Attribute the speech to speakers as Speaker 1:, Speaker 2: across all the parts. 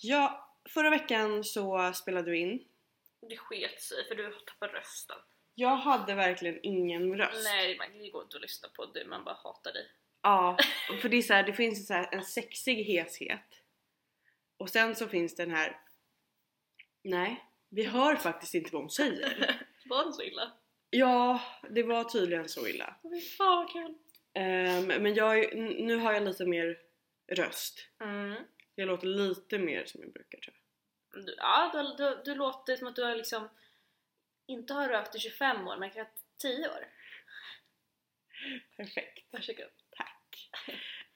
Speaker 1: Ja, förra veckan så spelade vi in.
Speaker 2: Det sket sig för du tappade rösten.
Speaker 1: Jag hade verkligen ingen röst.
Speaker 2: Nej, man- det går inte att lyssna på. Du, man bara hatar dig.
Speaker 1: Ja, för det, är så här, det finns så här en sexig heshet. Och sen så finns den här... Nej, vi hör faktiskt inte vad hon säger.
Speaker 2: Var det så illa?
Speaker 1: Ja, det var tydligen så illa.
Speaker 2: Fy fan vad kul!
Speaker 1: Ehm, men jag, är- n- nu har jag lite mer röst.
Speaker 2: Mm.
Speaker 1: Jag låter lite mer som jag brukar tror jag.
Speaker 2: Du, ja, du, du, du låter som att du har liksom inte har rökt i 25 år, men kanske 10 år.
Speaker 1: Perfekt.
Speaker 2: Varsågod.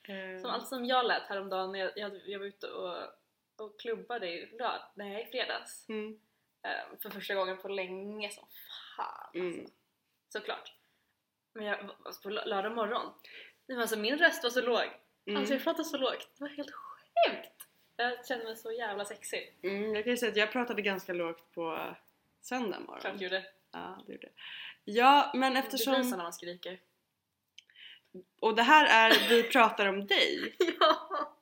Speaker 1: Ehm,
Speaker 2: Som allt som jag lät häromdagen när jag, jag, jag var ute och, och klubbade i lörd, nej, i fredags.
Speaker 1: mm,
Speaker 2: Eh, för första gången på länge som fan
Speaker 1: Mm.
Speaker 2: alltså. Såklart. Men jag, alltså, på lö- lördag morgon, det var alltså min röst var så låg.
Speaker 1: mm,
Speaker 2: Alltså jag pratade så lågt, det var helt sjukt! Jag kände mig så jävla sexig.
Speaker 1: mm, jag kan ju säga att jag pratade ganska lågt på söndag
Speaker 2: Klart
Speaker 1: morgon.
Speaker 2: du gjorde.
Speaker 1: Ja, det gjorde jag. Ja, men
Speaker 2: Det blir så
Speaker 1: eftersom...
Speaker 2: när man skriker.
Speaker 1: Och det här är Vi pratar om dig.
Speaker 2: ja!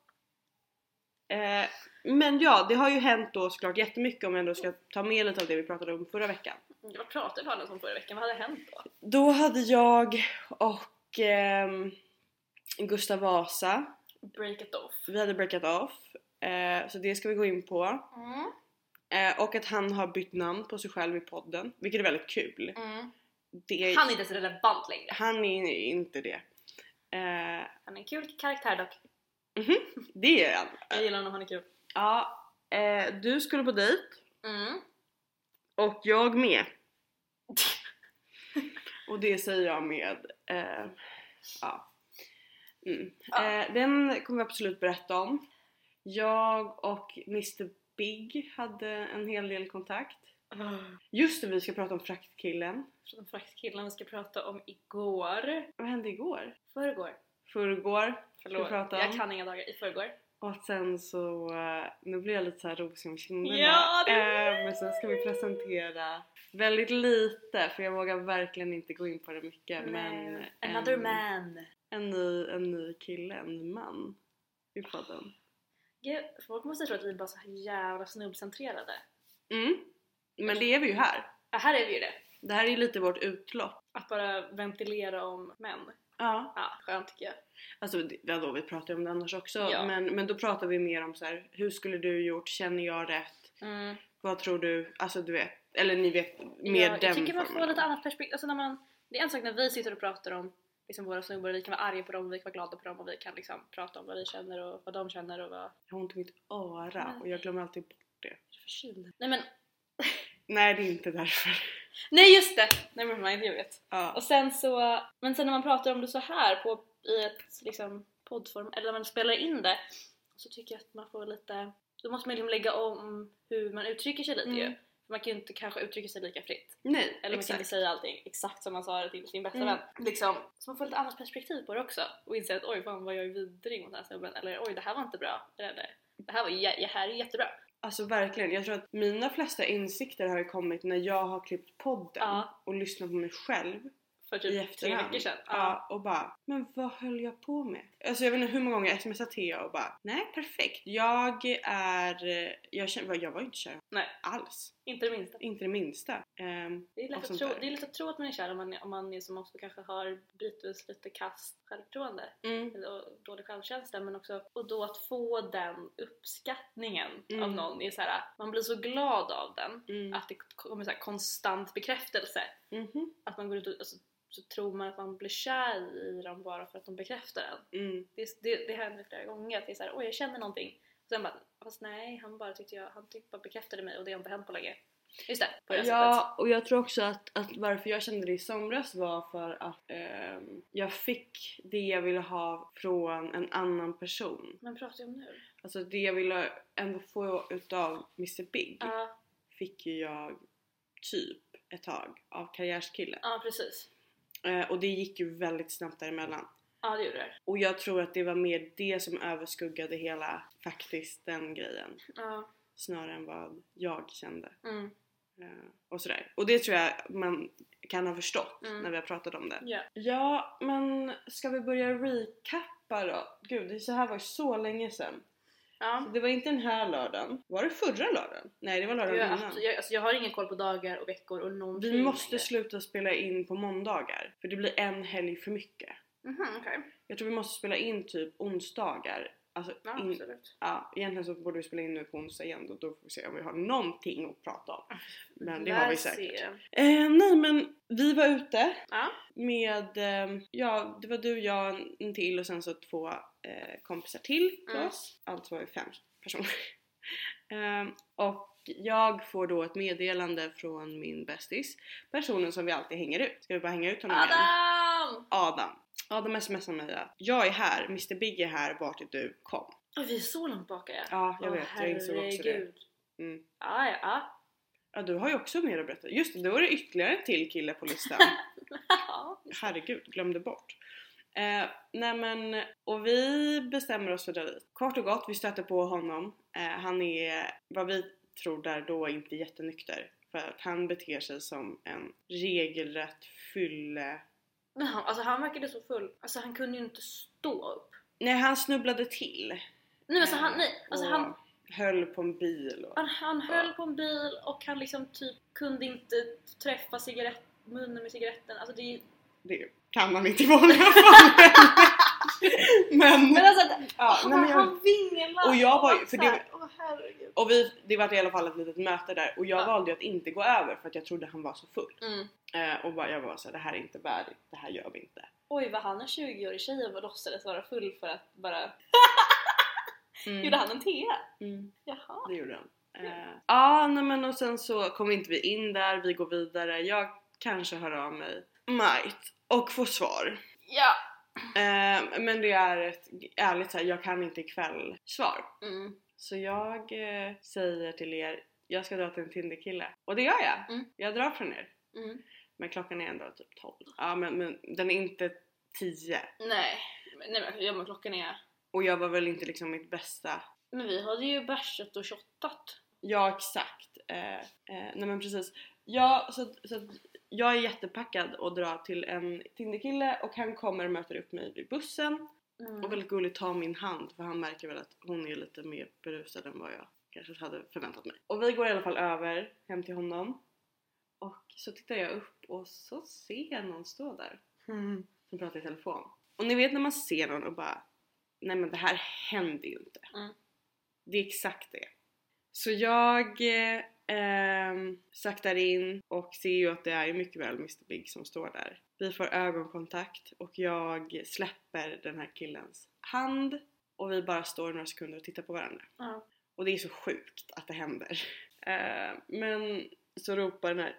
Speaker 1: Eh, men ja, det har ju hänt då såklart jättemycket om jag ändå ska ta med lite av det vi pratade om förra veckan.
Speaker 2: Vad pratade vi annars om förra veckan? Vad hade hänt då?
Speaker 1: Då hade jag och ehm, Gustav Vasa,
Speaker 2: Break it off.
Speaker 1: vi hade breakat off. Eh, så det ska vi gå in på.
Speaker 2: Mm.
Speaker 1: Eh, och att han har bytt namn på sig själv i podden, vilket är väldigt kul. Det
Speaker 2: mm. Han är inte ens relevant längre.
Speaker 1: han är inte det. Eh,
Speaker 2: Han är en kul karaktär dock.
Speaker 1: det är han.
Speaker 2: Jag gillar honom, han är kul.
Speaker 1: Ja, eh, du skulle på dejt
Speaker 2: Mm.
Speaker 1: och jag med. Och det säger jag med, eh, ja. Mm.
Speaker 2: Ja.
Speaker 1: Eh, den kommer vi absolut berätta om. Jag och Mr Big hade en hel del kontakt. Just det, vi ska prata om fraktkillen.
Speaker 2: Från fraktkillen vi ska prata om igår.
Speaker 1: Vad hände igår?
Speaker 2: Förrgår.
Speaker 1: Förrgår. Ska vi
Speaker 2: Förlåt.
Speaker 1: prata om.
Speaker 2: Jag kan inga dagar. I förrgår.
Speaker 1: Och sen så, eh, nu blir jag lite såhär rosig om kinderna.
Speaker 2: Ja, det blir
Speaker 1: eh, men sen ska vi presentera väldigt lite för jag vågar verkligen inte gå in på det mycket. Men
Speaker 2: Another
Speaker 1: en-
Speaker 2: man.
Speaker 1: en ny, en ny kille, en ny man i podden.
Speaker 2: Gud, folk måste tro att vi är bara så här jävla snubbcentrerade.
Speaker 1: Mm. Men det är vi ju här.
Speaker 2: Ja, här är vi ju det.
Speaker 1: Det här är ju lite vårt utlopp.
Speaker 2: Att bara ventilera om män.
Speaker 1: Ja.
Speaker 2: Ja, skönt tycker jag.
Speaker 1: Alltså det- ja, då vi pratar ju om det annars också
Speaker 2: Ja.
Speaker 1: men, men då pratar vi mer om så här, hur skulle du gjort, känner jag rätt, vad tror du, alltså du vet, eller ni vet, mer
Speaker 2: jag,
Speaker 1: den
Speaker 2: jag tycker man får
Speaker 1: formen.
Speaker 2: lite annat perspektiv. Alltså när man, det är en sak när vi sitter och pratar om liksom våra snubbar, vi kan vara arga på dem, vi kan vara glada på dem och vi kan liksom prata om vad vi känner och vad de känner och vad...
Speaker 1: Jag har ont i mitt öra och jag glömmer alltid bort det.
Speaker 2: Förkyld. Nej men,
Speaker 1: Nej det är inte därför.
Speaker 2: nej just det! Nej men mind, jag vet.
Speaker 1: Ja.
Speaker 2: Och sen så, men sen när man pratar om det så här på, i ett liksom poddform, eller när man spelar in det, så tycker jag att man får lite, då måste man liksom lägga om hur man uttrycker sig lite
Speaker 1: Mm.
Speaker 2: ju. För man kan ju inte kanske uttrycka sig lika fritt.
Speaker 1: Nej,
Speaker 2: Eller man kan
Speaker 1: exakt.
Speaker 2: inte säga allting exakt som man sa det till sin bästa
Speaker 1: Mm.
Speaker 2: vän. Liksom. Så man får lite annat perspektiv på det också och inser att oj fan vad jag är vidrig mot den här snubben eller oj det här var inte bra eller det här, var jä- det här är jättebra.
Speaker 1: Alltså verkligen, jag tror att mina flesta insikter har ju kommit när jag har klippt podden
Speaker 2: Ja.
Speaker 1: och lyssnat på mig själv
Speaker 2: För
Speaker 1: i
Speaker 2: typ tre
Speaker 1: efterhand.
Speaker 2: veckor sedan. Ja.
Speaker 1: Ja, och bara men vad höll jag på med? Alltså jag vet inte hur många gånger jag smsat Thea och bara nej perfekt jag är eh, jag, känner, jag var ju inte kär
Speaker 2: Nej.
Speaker 1: alls.
Speaker 2: Inte det minsta.
Speaker 1: Inte det minsta. Ehm,
Speaker 2: Det är,
Speaker 1: Och
Speaker 2: lätt att
Speaker 1: sånt
Speaker 2: tro,
Speaker 1: där.
Speaker 2: det är lätt att tro att man är kär om man, är- om man är som också kanske har bitvis lite kast självförtroende
Speaker 1: mm,
Speaker 2: och dålig självkänsla men också och då att få den uppskattningen
Speaker 1: Mm.
Speaker 2: av någon är så här, man blir så glad av den
Speaker 1: mm,
Speaker 2: att det kommer så här konstant bekräftelse
Speaker 1: mhm,
Speaker 2: att man går ut och alltså, så tror man att man blir kär i dem bara för att de bekräftar en.
Speaker 1: mm,
Speaker 2: Det, det, det händer flera gånger att det är såhär åh jag känner någonting och sen bara fast nej han bara tyckte jag, han tyckte bara bekräftade mig och det har inte hänt på länge. Just det, på det sättet.
Speaker 1: Ja och jag tror också att, att varför jag kände det i somras var för att ehm, jag fick det jag ville ha från en annan person.
Speaker 2: Men pratar jag om nu?
Speaker 1: Alltså det jag ville ändå få utav Mr Big
Speaker 2: Ja,
Speaker 1: fick ju jag typ ett tag av karriärskillen.
Speaker 2: ja precis.
Speaker 1: Eh, och det gick ju väldigt snabbt däremellan.
Speaker 2: Ja det gjorde det.
Speaker 1: Och jag tror att det var mer det som överskuggade hela faktiskt den grejen.
Speaker 2: Ja.
Speaker 1: Snarare än vad jag kände.
Speaker 2: Mm.
Speaker 1: Eh, och sådär. Och det tror jag man kan ha förstått
Speaker 2: Mm.
Speaker 1: när vi har pratat om det.
Speaker 2: Ja.
Speaker 1: Ja men ska vi börja recappa då? Gud det så här var ju så länge sedan. Så
Speaker 2: Ja.
Speaker 1: Ah. det var inte den här lördagen. Var det förra lördagen? Nej, det var
Speaker 2: Jag,
Speaker 1: lördagen
Speaker 2: jag,
Speaker 1: innan.
Speaker 2: alltså, jag, alltså, jag har ingen koll på dagar och veckor och någonting.
Speaker 1: Vi måste
Speaker 2: längre.
Speaker 1: sluta spela in på måndagar för det blir en helg för mycket.
Speaker 2: Mhm, okej.
Speaker 1: Jag tror vi måste spela in typ onsdagar. Alltså,
Speaker 2: Ja,
Speaker 1: in,
Speaker 2: absolut.
Speaker 1: ja, egentligen så borde vi spela in nu på onsdag igen och då får vi se om vi har någonting att prata om. Men det har
Speaker 2: Lär
Speaker 1: vi
Speaker 2: se.
Speaker 1: säkert. Eh, nej men vi var ute
Speaker 2: Ja.
Speaker 1: med, eh, ja det var du, jag, en- en till och sen så två eh, kompisar till till
Speaker 2: Mm.
Speaker 1: oss. Alltså var vi fem personer. Ehm, och jag får då ett meddelande från min bästis, personen som vi alltid hänger ut. Ska vi bara hänga ut honom igen?
Speaker 2: Adam!
Speaker 1: Adam. Adam smsar mig att jag är här, Mr Big är här, vart är du? Kom.
Speaker 2: Oj, vi är så långt bak är jag.
Speaker 1: Ja, jag
Speaker 2: Åh,
Speaker 1: vet, jag insåg också det.
Speaker 2: herregud.
Speaker 1: Mm.
Speaker 2: Ja, ja.
Speaker 1: Ja, du har ju också mer att berätta. Just det, då var det ytterligare en till kille på listan.
Speaker 2: ja.
Speaker 1: Herregud, glömde bort. Eh, nej men, och vi bestämmer oss för att dra dit. Kort och gott, vi stöter på honom. Eh, han är, vad vi tror där då, inte jättenykter. För att han beter sig som en regelrätt fylle...
Speaker 2: Men han, alltså han verkade så full. Alltså han kunde ju inte stå upp.
Speaker 1: Nej, han snubblade till.
Speaker 2: Nej men alltså han, nej, alltså
Speaker 1: och
Speaker 2: han,
Speaker 1: höll på en bil och...
Speaker 2: han, han höll på en bil och han liksom typ kunde inte träffa cigarett, munnen med cigaretten. Alltså det är ju...
Speaker 1: Det kan man inte i vanliga fall. men...
Speaker 2: Men alltså att-
Speaker 1: ja, nej, men
Speaker 2: han,
Speaker 1: jag,
Speaker 2: han vinglade!
Speaker 1: Och jag var ju-
Speaker 2: och
Speaker 1: för
Speaker 2: så här,
Speaker 1: det-
Speaker 2: Åh herregud.
Speaker 1: och vi, det var i alla fall ett litet möte där och jag
Speaker 2: Ja.
Speaker 1: valde ju att inte gå över för att jag trodde han var så full.
Speaker 2: Mm.
Speaker 1: Eh, och bara, jag var såhär, det här är inte värdigt, det här gör vi inte.
Speaker 2: Oj vad han är 20-årig tjej och bara låtsades vara full för att bara... Gjorde han en tea?
Speaker 1: Mm,
Speaker 2: Jaha.
Speaker 1: det gjorde han. Ja,
Speaker 2: Kul.
Speaker 1: ah, nej men och sen så kom inte vi in där, vi går vidare. Jag kanske hör av mig might och får svar.
Speaker 2: Ja.
Speaker 1: Eh, men det är ett ärligt såhär, jag kan inte ikväll svar.
Speaker 2: Mm.
Speaker 1: Så jag eh, säger till er, jag ska dra till en Tinderkille. Och det gör jag!
Speaker 2: Mm.
Speaker 1: Jag drar från er.
Speaker 2: Mm.
Speaker 1: Men klockan är ändå typ 12. Ja men, men den är inte 10.
Speaker 2: Nej. Men- Nej men, ja, men klockan är...
Speaker 1: Och jag var väl inte liksom mitt bästa.
Speaker 2: Men vi hade ju bärsat och shottat.
Speaker 1: Ja exakt. Eh, eh, nej men precis. Ja, så, att- så att jag är jättepackad och drar till en Tinderkille och han kommer och möter upp mig vid bussen. Och väldigt gulligt tar min hand för han märker väl att hon är lite mer berusad än vad jag kanske hade förväntat mig. Och vi går i alla fall över hem till honom. Och så tittar jag upp och så ser jag någon stå där som pratar i telefon. Och ni vet när man ser någon och bara Nej men det här händer ju inte.
Speaker 2: Mm.
Speaker 1: Det är exakt det. Så jag eh, ehm, saktar in och ser ju att det är ju mycket väl Mr Big som står där. Vi får ögonkontakt och jag släpper den här killens hand och vi bara står några sekunder och tittar på varandra.
Speaker 2: Ja.
Speaker 1: Och det är så sjukt att det händer. Eh, men så ropar den här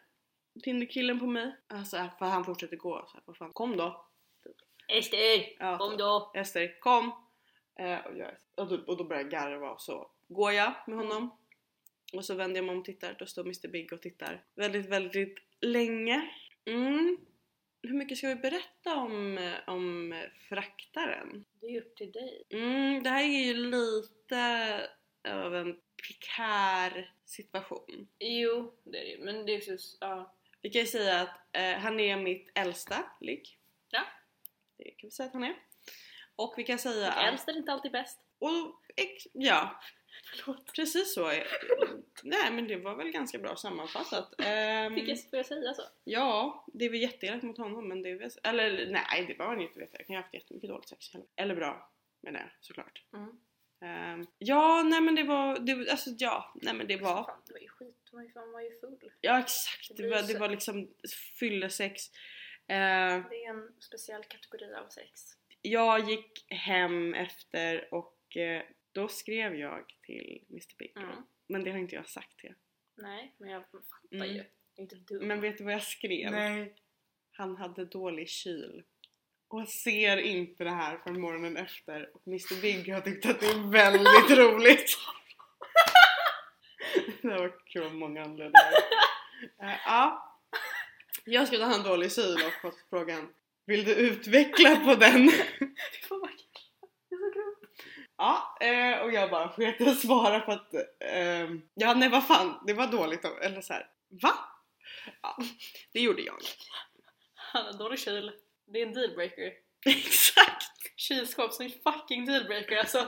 Speaker 1: Tinderkillen på mig. Alltså för han fortsätter gå. Så här, vad fan, kom då!
Speaker 2: Ester!
Speaker 1: Ja,
Speaker 2: Kom då!
Speaker 1: Ester, kom! Eh, och, jag, och, då, och då börjar jag garva och så går jag med honom. Och så vänder jag mig om och tittar, då står Mr Big och tittar väldigt, väldigt länge. Mm. Hur mycket ska vi berätta om, eh, om eh, fraktaren?
Speaker 2: Det är ju upp till dig.
Speaker 1: Mm, det här är ju lite av en pikär situation.
Speaker 2: Jo, det är det ju. Men det är ju så... Ja.
Speaker 1: Vi kan ju säga att eh, han är mitt äldsta ligg.
Speaker 2: Ja.
Speaker 1: Det kan vi säga att han är. Och vi kan säga
Speaker 2: Ja. Äldst är inte alltid bäst.
Speaker 1: Och, ex- ja,
Speaker 2: Förlåt.
Speaker 1: Precis så. är- Nej men det var väl ganska bra sammanfattat. Ehm,
Speaker 2: Fick jag börja säga så?
Speaker 1: Ja, det är väl jätteelakt mot honom men det är väl... Eller nej, det behöver han ju inte veta. Jag kan ju ha haft jättemycket dåligt sex. Eller bra, men det såklart.
Speaker 2: Mm.
Speaker 1: Ehm, ja, nej men det var... Det, alltså ja, nej men det var...
Speaker 2: Fan, det var ju skit. Man var ju- fan var ju full.
Speaker 1: Ja exakt,
Speaker 2: Det
Speaker 1: det var,
Speaker 2: blir
Speaker 1: det
Speaker 2: så-
Speaker 1: var liksom fyllesex. Uh,
Speaker 2: Det är en speciell kategori av sex.
Speaker 1: jag gick hem efter och eh, då skrev jag till Mr Big.
Speaker 2: Mm.
Speaker 1: Men det har inte jag sagt till.
Speaker 2: Nej, men jag fattar
Speaker 1: Mm.
Speaker 2: ju. Jag är inte dum.
Speaker 1: Men vet du vad jag skrev? Han hade dålig kyl och ser inte det här för morgonen efter och Mr Big har tyckt att det är väldigt roligt. det här var kul av många anledningar. Eh, ja. Jag skrev att han har dålig kyl och fått frågan Vill du utveckla på den?
Speaker 2: Oh my God. Det är så grovt.
Speaker 1: ja, eh, och jag bara sket i att svara för att ehm, ja nej vad fan det var dåligt av- eller så här. Va? Ja, det gjorde jag.
Speaker 2: Han har dålig kyl. Det är en dealbreaker.
Speaker 1: Exakt!
Speaker 2: Kylskåp som är en fucking dealbreaker alltså.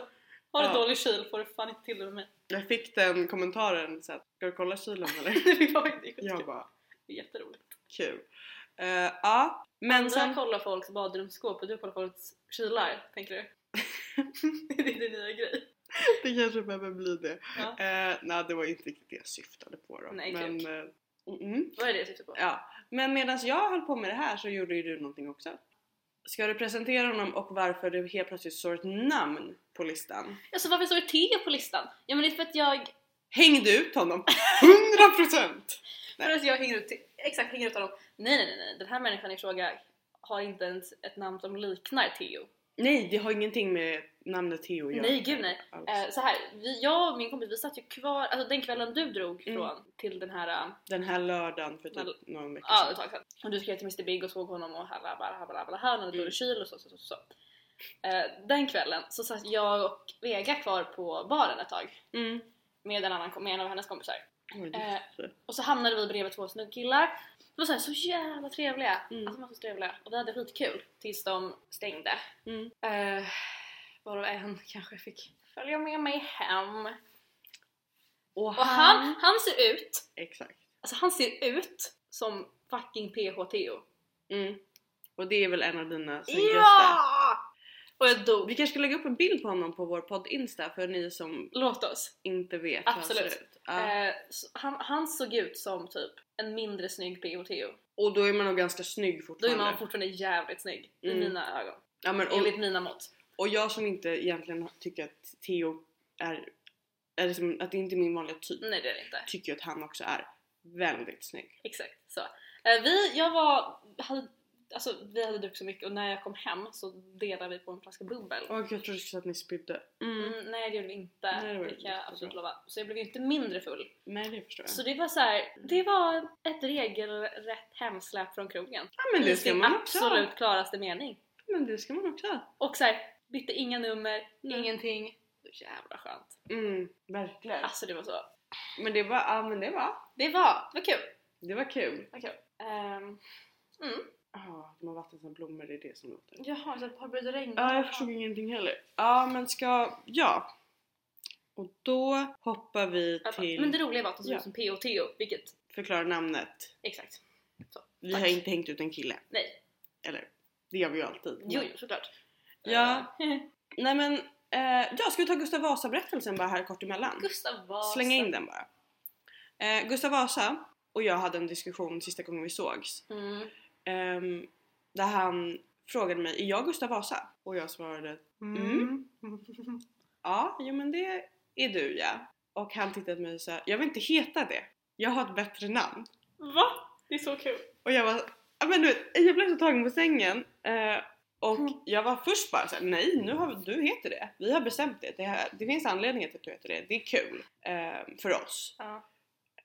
Speaker 2: Har du
Speaker 1: Ja.
Speaker 2: dålig kyl får du fan inte till det med mig.
Speaker 1: Jag fick den kommentaren så att ska du kolla kylen eller?
Speaker 2: det var faktiskt skitkul.
Speaker 1: jag bara
Speaker 2: Det är jätteroligt.
Speaker 1: kul. Eh, ja, men
Speaker 2: Men
Speaker 1: sen...
Speaker 2: sen kollar folks badrumsskåp och du kollar folks kylar, tänker du? det är din nya grej.
Speaker 1: Det kanske behöver bli det.
Speaker 2: Ja.
Speaker 1: Eh, nej, det var inte riktigt det jag syftade på då.
Speaker 2: Nej,
Speaker 1: men,
Speaker 2: kul.
Speaker 1: eh, mm,
Speaker 2: Vad är det jag syftar på?
Speaker 1: ja. men medan jag höll på med det här så gjorde ju du någonting också. Ska du presentera honom och varför du helt plötsligt står ett namn på listan?
Speaker 2: Alltså varför står det T på listan? Ja men det är för att jag
Speaker 1: Hängde ut honom! 100%!
Speaker 2: För att jag hänger ut, exakt hänger ut honom. Nej nej nej, nej. den här människan i fråga har inte ens ett namn som liknar Theo.
Speaker 1: Nej, det har ingenting med namnet Theo att göra.
Speaker 2: Nej, gud, nej.
Speaker 1: Alls.
Speaker 2: Eh, så här, vi, jag och min kompis vi satt ju kvar, alltså den kvällen du drog
Speaker 1: Mm.
Speaker 2: från till den här, eh,
Speaker 1: Den här lördagen för typ
Speaker 2: Väl-
Speaker 1: någon vecka
Speaker 2: ja
Speaker 1: sedan.
Speaker 2: ett tag sedan. Liksom. Och du skrev till Mr Big och såg honom och här, här, här, här, här, när
Speaker 1: Mm.
Speaker 2: du kyl och så, så, så, så. Eh, den kvällen så satt jag och Vega kvar på baren ett tag
Speaker 1: Mm.
Speaker 2: med en, annan, kom- med en av hennes kompisar.
Speaker 1: Oj,
Speaker 2: Eh,
Speaker 1: det är
Speaker 2: Och så hamnade vi bredvid två snubbkillar. De var så, här, så jävla trevliga.
Speaker 1: Mm.
Speaker 2: Alltså de var så trevliga. Och vi hade skitkul tills de stängde.
Speaker 1: mm.
Speaker 2: Eh, varav en kanske fick följa med mig hem.
Speaker 1: Och
Speaker 2: Och han, han ser ut,
Speaker 1: Exakt.
Speaker 2: alltså han ser ut som fucking PHTO.
Speaker 1: Mm. Och det är väl en av dina snyggaste?
Speaker 2: Ja! Och jag dog.
Speaker 1: Vi kanske ska lägga upp en bild på honom på vår podd Insta för ni som
Speaker 2: Låt oss.
Speaker 1: inte vet
Speaker 2: Absolut.
Speaker 1: ser ut. Ja.
Speaker 2: Eh, så han, han såg ut som typ en mindre snygg PHTO.
Speaker 1: Och då är man nog ganska snygg
Speaker 2: Då är
Speaker 1: fortfarande.
Speaker 2: man fortfarande jävligt snygg
Speaker 1: Mm.
Speaker 2: i mina ögon.
Speaker 1: ja, men, och,
Speaker 2: Enligt mina mått.
Speaker 1: och jag som inte egentligen tycker att Theo är, är liksom, att det inte är min vanliga typ,
Speaker 2: Nej det är det inte.
Speaker 1: tycker ju att han också är väldigt snygg.
Speaker 2: Exakt så. Eh, Vi, jag var, hade, alltså, vi hade druckit så mycket och när jag kom hem så delade vi på en flaska bubbel.
Speaker 1: Och jag trodde precis att ni spydde. Mm.
Speaker 2: Mm, nej det gjorde vi inte,
Speaker 1: Nej, det var
Speaker 2: det
Speaker 1: inte
Speaker 2: kan jag
Speaker 1: så
Speaker 2: absolut
Speaker 1: bra.
Speaker 2: lova. Så jag blev ju inte mindre full.
Speaker 1: Nej det förstår jag.
Speaker 2: Så det var så här, det var ett regelrätt hemsläpp från krogen.
Speaker 1: ja men
Speaker 2: I
Speaker 1: det ska
Speaker 2: sin
Speaker 1: man också ha.
Speaker 2: absolut klaraste mening.
Speaker 1: Men det ska man också ha.
Speaker 2: Och så här, bytte inga nummer,
Speaker 1: Nej.
Speaker 2: ingenting. Så jävla skönt.
Speaker 1: Mm, verkligen.
Speaker 2: Alltså det var så.
Speaker 1: Men det var, ja men det var,
Speaker 2: Det var, det var kul.
Speaker 1: det var kul.
Speaker 2: Det var kul. Um, mm.
Speaker 1: Ja, de har vatten som blommor, det är det som låter.
Speaker 2: Jaha, så har det börjat regna?
Speaker 1: Ja, jag förstod ingenting heller. Ja, men ska... Ja. Och då hoppar vi
Speaker 2: Ja,
Speaker 1: till...
Speaker 2: Men det roliga var att de såg
Speaker 1: Ja.
Speaker 2: ut som P och Theo, vilket,
Speaker 1: Förklara namnet.
Speaker 2: exakt.
Speaker 1: Vi
Speaker 2: Tack.
Speaker 1: har inte hängt ut en kille.
Speaker 2: Nej.
Speaker 1: Eller, det gör vi ju alltid.
Speaker 2: Jo, jo såklart.
Speaker 1: Ja.
Speaker 2: Eh,
Speaker 1: Nej men, eh, ja ska vi ta Gustav Vasa-berättelsen bara här kort emellan?
Speaker 2: Gustav Vasa.
Speaker 1: Slänga in den bara. Eh, Gustav Vasa och jag hade en diskussion sista gången vi sågs.
Speaker 2: Mm.
Speaker 1: ehm, där han frågade mig, är jag Gustav Vasa? Och jag svarade Mm. Ja, jo men det är du ja. Och han tittade på mig och sa, jag vill inte heta det. Jag har ett bättre namn.
Speaker 2: Va? Det är så kul.
Speaker 1: Och jag var, ja men du vet, jag blev så tagen på sängen. Eh, och
Speaker 2: Mm.
Speaker 1: jag var först bara såhär, nej nu har du heter det. Vi har bestämt det. Det, här, det finns anledningar till att du heter det. Det är kul. eh, för oss.
Speaker 2: Ja.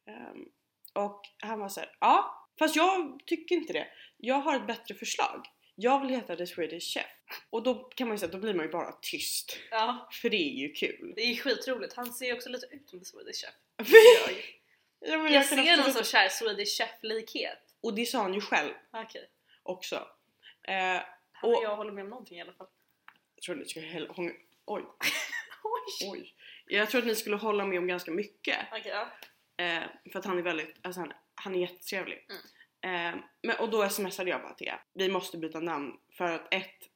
Speaker 1: Ehm, och han var såhär, ja fast jag tycker inte det. Jag har ett bättre förslag. Jag vill heta The Swedish Chef. Och då kan man ju säga, då blir man ju bara tyst.
Speaker 2: ja.
Speaker 1: För det är ju kul.
Speaker 2: Det är skitroligt. Han ser ju också lite ut som The Swedish Chef.
Speaker 1: Ja, men
Speaker 2: Jag,
Speaker 1: kan
Speaker 2: ser någon
Speaker 1: absolut-
Speaker 2: sorts här Swedish Chef-likhet.
Speaker 1: Och det sa han ju själv
Speaker 2: Okej.
Speaker 1: också. Eh,
Speaker 2: Han och
Speaker 1: Och-
Speaker 2: jag håller med om någonting i alla fall.
Speaker 1: jag trodde ni skulle hälla, hång, oj,
Speaker 2: Oj!
Speaker 1: oj. Jag tror att ni skulle hålla med om ganska mycket.
Speaker 2: Okej, ja.
Speaker 1: Eh, för att han är väldigt, alltså han, han är jättetrevlig. Eh, men, och då smsade jag bara till er. Vi måste byta namn för att ett,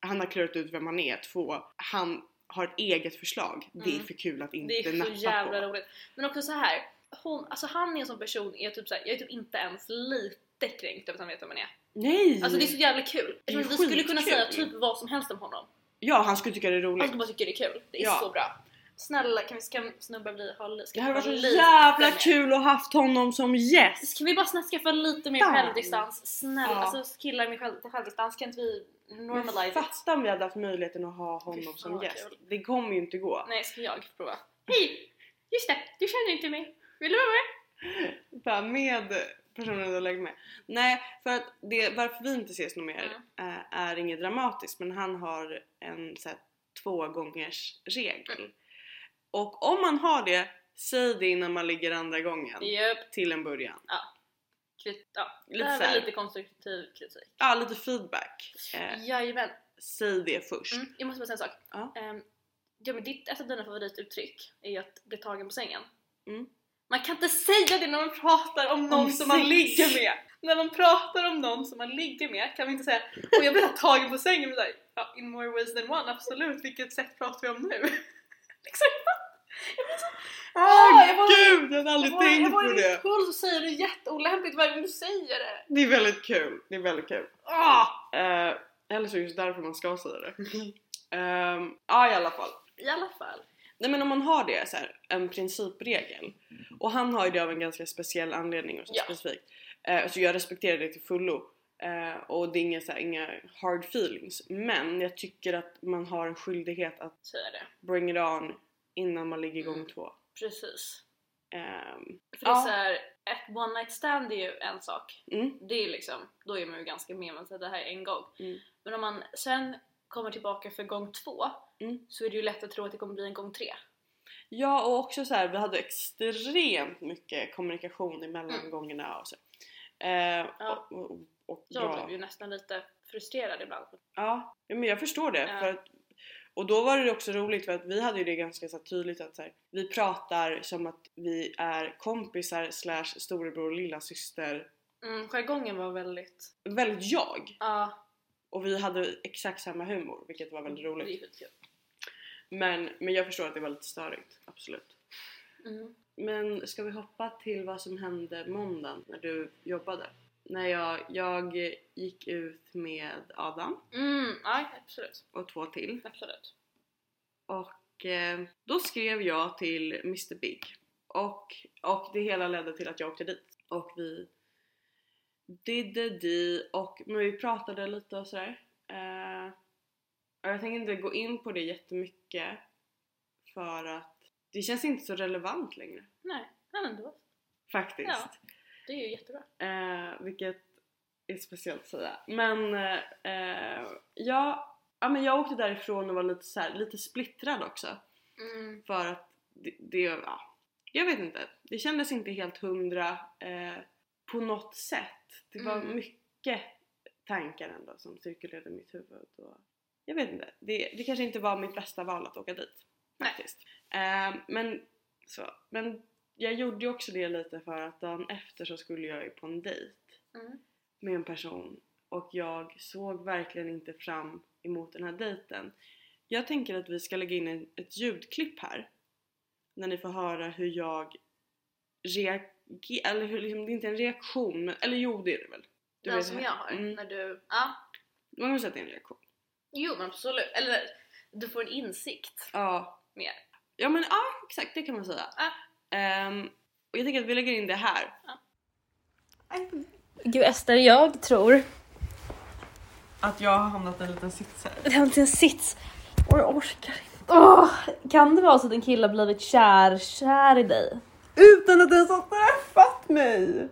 Speaker 1: han har klurat ut vem han är. Två, han har ett eget förslag. Det är
Speaker 2: Mm.
Speaker 1: för kul att inte
Speaker 2: Det är
Speaker 1: nappa
Speaker 2: så jävla
Speaker 1: på.
Speaker 2: roligt. Men också så här. Hon, alltså han är en sån person, jag är typ, så här, jag är typ inte ens lite kränkt över att han vet vem han är.
Speaker 1: Nej!
Speaker 2: Alltså det är så jävla kul.
Speaker 1: Det är
Speaker 2: Vi skulle kunna
Speaker 1: skitkul.
Speaker 2: säga typ vad som helst om honom.
Speaker 1: Ja, han skulle tycka det är
Speaker 2: Han
Speaker 1: roligt.
Speaker 2: skulle bara tycka det är kul. Det är
Speaker 1: Ja.
Speaker 2: så bra. Snälla kan vi ska snubbar bli ha li- ska
Speaker 1: Det hade varit
Speaker 2: vi ha
Speaker 1: så
Speaker 2: lite
Speaker 1: jävla
Speaker 2: mer-
Speaker 1: kul att haft honom som gäst!
Speaker 2: Kan vi bara snä- skaffa lite mer
Speaker 1: Fan.
Speaker 2: självdistans? Snälla,
Speaker 1: Ja.
Speaker 2: alltså killar med själv, självdistans kan inte vi
Speaker 1: Men
Speaker 2: normalize it?
Speaker 1: Fatta om vi hade haft möjligheten att ha
Speaker 2: Fy
Speaker 1: honom
Speaker 2: fan,
Speaker 1: som
Speaker 2: vad
Speaker 1: gäst.
Speaker 2: kul.
Speaker 1: Det kommer ju inte gå.
Speaker 2: Nej, ska jag prova? Hej! Just det, du känner inte mig. Vill du vara med?
Speaker 1: Bara med personen du lägger med. Nej, för att det, varför vi inte ses nog mer
Speaker 2: Mm.
Speaker 1: eh, är inget dramatiskt men han har en så här, två gångers regel.
Speaker 2: Mm.
Speaker 1: Och om man har det, säg det innan man ligger andra gången.
Speaker 2: Japp.
Speaker 1: Till en början.
Speaker 2: Krit- ja.
Speaker 1: Lite
Speaker 2: det här
Speaker 1: så här.
Speaker 2: var lite konstruktiv kritik.
Speaker 1: Ja, lite feedback. Eh,
Speaker 2: Jajamän.
Speaker 1: säg det först.
Speaker 2: Mm, jag måste bara säga en sak.
Speaker 1: Mm. Ja.
Speaker 2: Ehm, Ja men ditt, ett av dina favorituttryck är ju att bli tagen på sängen.
Speaker 1: Mm.
Speaker 2: Man kan inte säga det när man pratar om någon
Speaker 1: Om
Speaker 2: som man
Speaker 1: sex.
Speaker 2: ligger med! När man pratar om någon som man ligger med kan vi inte säga och jag blev tagen på sängen men såhär, ja, in more ways than one, absolut, vilket sätt pratar vi om nu? liksom, jag blir så...
Speaker 1: Åh
Speaker 2: Ah, jag var-
Speaker 1: gud, jag hade aldrig
Speaker 2: jag var-
Speaker 1: tänkt
Speaker 2: jag var
Speaker 1: på
Speaker 2: i
Speaker 1: det!
Speaker 2: mitt koll så säger du jätteolämpligt varje gång du säger det!
Speaker 1: Det är väldigt kul, det är väldigt kul.
Speaker 2: Ah!
Speaker 1: Eh, eller så är det just därför man ska säga det. Ehm, ja i alla fall.
Speaker 2: I alla fall.
Speaker 1: Nej men om man har det så här, en principregel och han har ju det av en ganska speciell anledning och så
Speaker 2: Ja.
Speaker 1: specifikt. Eh, så jag respekterar det till fullo eh, och det är inga, så här, inga hard feelings men jag tycker att man har en skyldighet att
Speaker 2: Så är det.
Speaker 1: bring it on innan man ligger
Speaker 2: Mm.
Speaker 1: igång två.
Speaker 2: Precis.
Speaker 1: Ehm,
Speaker 2: För det är
Speaker 1: Ja.
Speaker 2: såhär, ett one night stand är ju en sak
Speaker 1: mm,
Speaker 2: det är ju liksom, då är man ju ganska med man säger det här är en gång.
Speaker 1: Mm.
Speaker 2: Men om man sen kommer tillbaka för gång två
Speaker 1: Mm.
Speaker 2: så är det ju lätt att tro att det kommer bli en gång tre.
Speaker 1: Ja och också så här, vi hade extremt mycket kommunikation emellan
Speaker 2: Mm.
Speaker 1: gångerna och så. Eh,
Speaker 2: Ja.
Speaker 1: och, och, och
Speaker 2: Jag
Speaker 1: bra.
Speaker 2: blev ju nästan lite frustrerad ibland.
Speaker 1: Ja, ja, men jag förstår det.
Speaker 2: Ja.
Speaker 1: För att, och då var det också roligt för att vi hade ju det ganska så här, tydligt att så här, vi pratar som att vi är kompisar slash storebror och lilla syster.
Speaker 2: Mm, jargongen var väldigt...
Speaker 1: Väldigt jag!
Speaker 2: Ja,
Speaker 1: Och vi hade exakt samma humor vilket var väldigt
Speaker 2: det är
Speaker 1: roligt.
Speaker 2: ju skitkul.
Speaker 1: Men, men jag förstår att det var lite störigt, absolut.
Speaker 2: Mm.
Speaker 1: Men ska vi hoppa till vad som hände måndagen när du jobbade? När jag, jag gick ut med Adam
Speaker 2: Mm, ja, absolut.
Speaker 1: och två till
Speaker 2: absolut.
Speaker 1: Och eh, då skrev jag till Mr Big. Och, och det hela ledde till att jag åkte dit. Och vi did the D och men vi pratade lite och sådär. Eh, och jag tänker inte gå in på det jättemycket för att det känns inte så relevant längre.
Speaker 2: Nej, men ändå.
Speaker 1: Faktiskt.
Speaker 2: Ja. Det är ju jättebra.
Speaker 1: Eh, vilket är speciellt att säga. Men eh, eh, ja, ja, men jag åkte därifrån och var lite, så här, lite splittrad också.
Speaker 2: Mm.
Speaker 1: För att det, det ja, jag vet inte. Det kändes inte helt hundra eh, på något sätt. Det var
Speaker 2: Mm.
Speaker 1: mycket tankar ändå som cirkulerade i mitt huvud. Och, jag vet inte. Det, det kanske inte var mitt bästa val att åka dit.
Speaker 2: Nej.
Speaker 1: Faktiskt. Eh, men, så, men jag gjorde ju också det lite för att dagen efter så skulle jag ju på en dejt
Speaker 2: Mm.
Speaker 1: med en person och jag såg verkligen inte fram emot den här dejten. Jag tänker att vi ska lägga in en- ett ljudklipp här när ni får höra hur jag reagerar, eller hur, liksom, det är inte en reaktion, men, eller jo det är det väl? Du
Speaker 2: Den
Speaker 1: vet
Speaker 2: som
Speaker 1: hur-
Speaker 2: jag har,
Speaker 1: Mm,
Speaker 2: när du... Ja,
Speaker 1: man kan säga att det är en reaktion.
Speaker 2: jo men absolut. Eller du får en insikt.
Speaker 1: Ja.
Speaker 2: Mer.
Speaker 1: Ja men ja, exakt det kan man säga.
Speaker 2: Ja.
Speaker 1: Ehm, och jag tänker att vi lägger in det här.
Speaker 3: Gud Ester, jag tror...
Speaker 1: Att jag har hamnat i en liten sits här.
Speaker 3: Det har inte en sits. Och jag orkar inte. Åh, kan det vara så att en kille har blivit kär, kär i dig?
Speaker 1: Utan att ens ha träffat mig!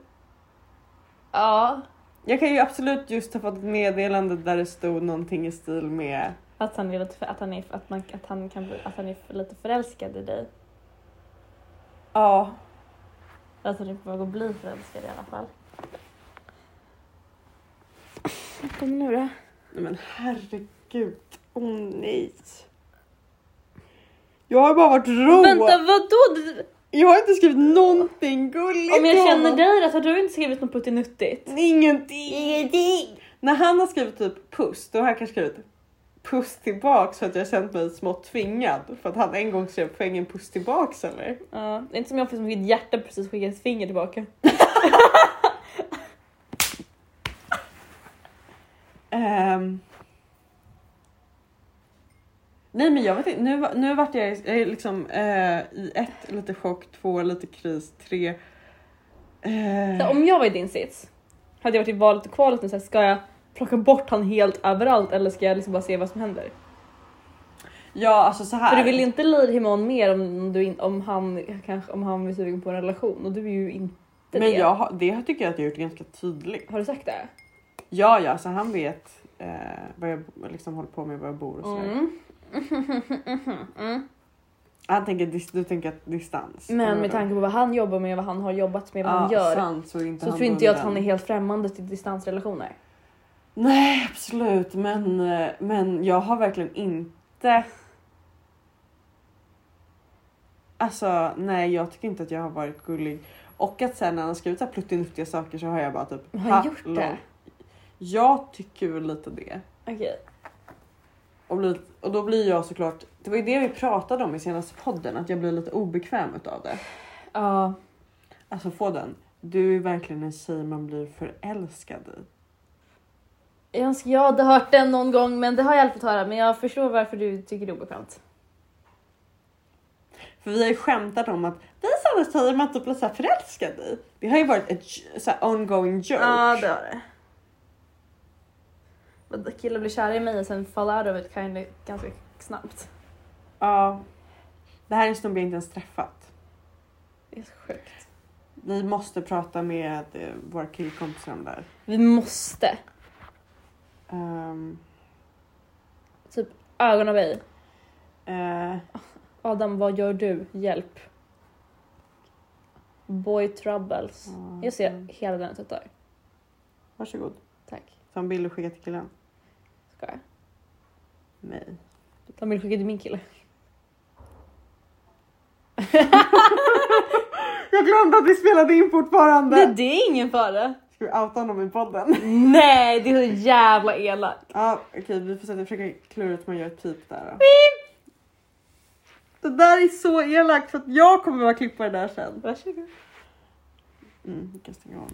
Speaker 3: Ja.
Speaker 1: Jag kan ju absolut just ha fått ett meddelande där det stod någonting i stil med
Speaker 3: Att han är, lite för, att han är, att man, att han kan bli, att han är för, lite förälskad i dig.
Speaker 1: Ja,
Speaker 3: Eller att han är på väg att bli förälskad i alla fall. Vad kommer nu då?
Speaker 1: nej men herregud. Åh oh, nej. Jag har bara varit rå.
Speaker 3: Vänta, vadå? Du-
Speaker 1: Jag har inte skrivit någonting gulligt
Speaker 3: Om jag
Speaker 1: till
Speaker 3: känner
Speaker 1: honom.
Speaker 3: dig rätt, har du inte skrivit något puttinuttigt?
Speaker 1: Ingenting. När han har skrivit typ puss, då har jag kanske skrivit puss tillbaks för att jag har känt mig smått tvingad. För att han en gång skrev poängen puss tillbaks eller?
Speaker 3: Ja, det är inte som jag fick som fick ett hjärta precis skicka ett finger tillbaka.
Speaker 1: Ehm. Nej men jag vet inte, nu, nu vart jag, jag är liksom eh, i ett lite chock, två lite kris, tre... eh,
Speaker 4: Ehm.
Speaker 3: Så om jag var i din sits, hade jag varit i valet och kvalet nu så här, ska jag plocka bort han helt överallt eller ska jag liksom bara se vad som händer?
Speaker 1: ja alltså så här.
Speaker 3: För du vill ju inte lira himon mer om, du in, om, han, kanske, om han är sugen på en relation och du är ju inte
Speaker 4: Men
Speaker 3: det.
Speaker 4: jag, har- det tycker jag att jag gjort ganska tydligt.
Speaker 3: Har du sagt det?
Speaker 4: Ja, ja, så han vet eh, vad jag liksom håller på med, var jag bor och sådär.
Speaker 3: Mm. Mm.
Speaker 4: Han tänker, dis- du tänker att distans.
Speaker 3: Men med tanke på vad han jobbar med, vad han har jobbat med, vad han gör
Speaker 4: Sant, Mm. så är inte
Speaker 3: så
Speaker 4: han
Speaker 3: tror inte jag att han
Speaker 4: bunden.
Speaker 3: är helt främmande till distansrelationer.
Speaker 4: Nej, absolut. Men, eh, men jag har verkligen inte Alltså nej jag tycker inte att jag har varit gullig. Och att sen när han har skrivit så här pluttinuttiga saker så har jag bara typ
Speaker 3: Har han
Speaker 4: "Ha,
Speaker 3: gjort det?
Speaker 4: Jag tycker väl lite det.
Speaker 3: Okej.
Speaker 4: Och, blir, och då blir jag såklart, det var ju det vi pratade om i senaste podden, att jag blir lite obekväm utav det.
Speaker 3: Ja.
Speaker 4: Alltså få den. Du är verkligen en tjej man blir förälskad i.
Speaker 3: Jag önskar jag hade hört den någon gång men det har jag aldrig fått höra men jag förstår varför du tycker det är obekvämt.
Speaker 4: För vi har ju skämtat om att vi är sådana tjejer man typ blir så här förälskad i. Det har ju varit ett j- så här ongoing joke.
Speaker 3: har det. Vadå, Killar blir kära i mig och sen faller out of it kind of ganska snabbt.
Speaker 4: Ja. Det här är en snubbe jag inte ens träffat.
Speaker 3: Det är så sjukt.
Speaker 4: Vi måste prata med eh, våra killkompisar om det här.
Speaker 3: Vi måste.
Speaker 4: Ehm,
Speaker 3: Ögon av dig.
Speaker 4: eh,
Speaker 3: Adam, vad gör du? Hjälp. Boy troubles.
Speaker 4: ja.
Speaker 3: Jag ser hela den tuttar.
Speaker 4: Varsågod.
Speaker 3: Tack.
Speaker 4: Ta en bild och skicka till killen.
Speaker 3: Ska jag?
Speaker 4: Nej.
Speaker 3: De vill skicka till min kille.
Speaker 4: Jag glömde att vi spelade in fortfarande.
Speaker 3: Nej, det är ingen fara.
Speaker 4: Ska vi outa honom i podden?
Speaker 3: Nej, det är så jävla elakt.
Speaker 4: Ja, okej, vi får sätta, försöka klura ut hur man gör ett pip där. Då. Det där är så elakt för att jag kommer vara klippare där sen.
Speaker 3: Varsågod.
Speaker 4: Mm, vi kan stänga av.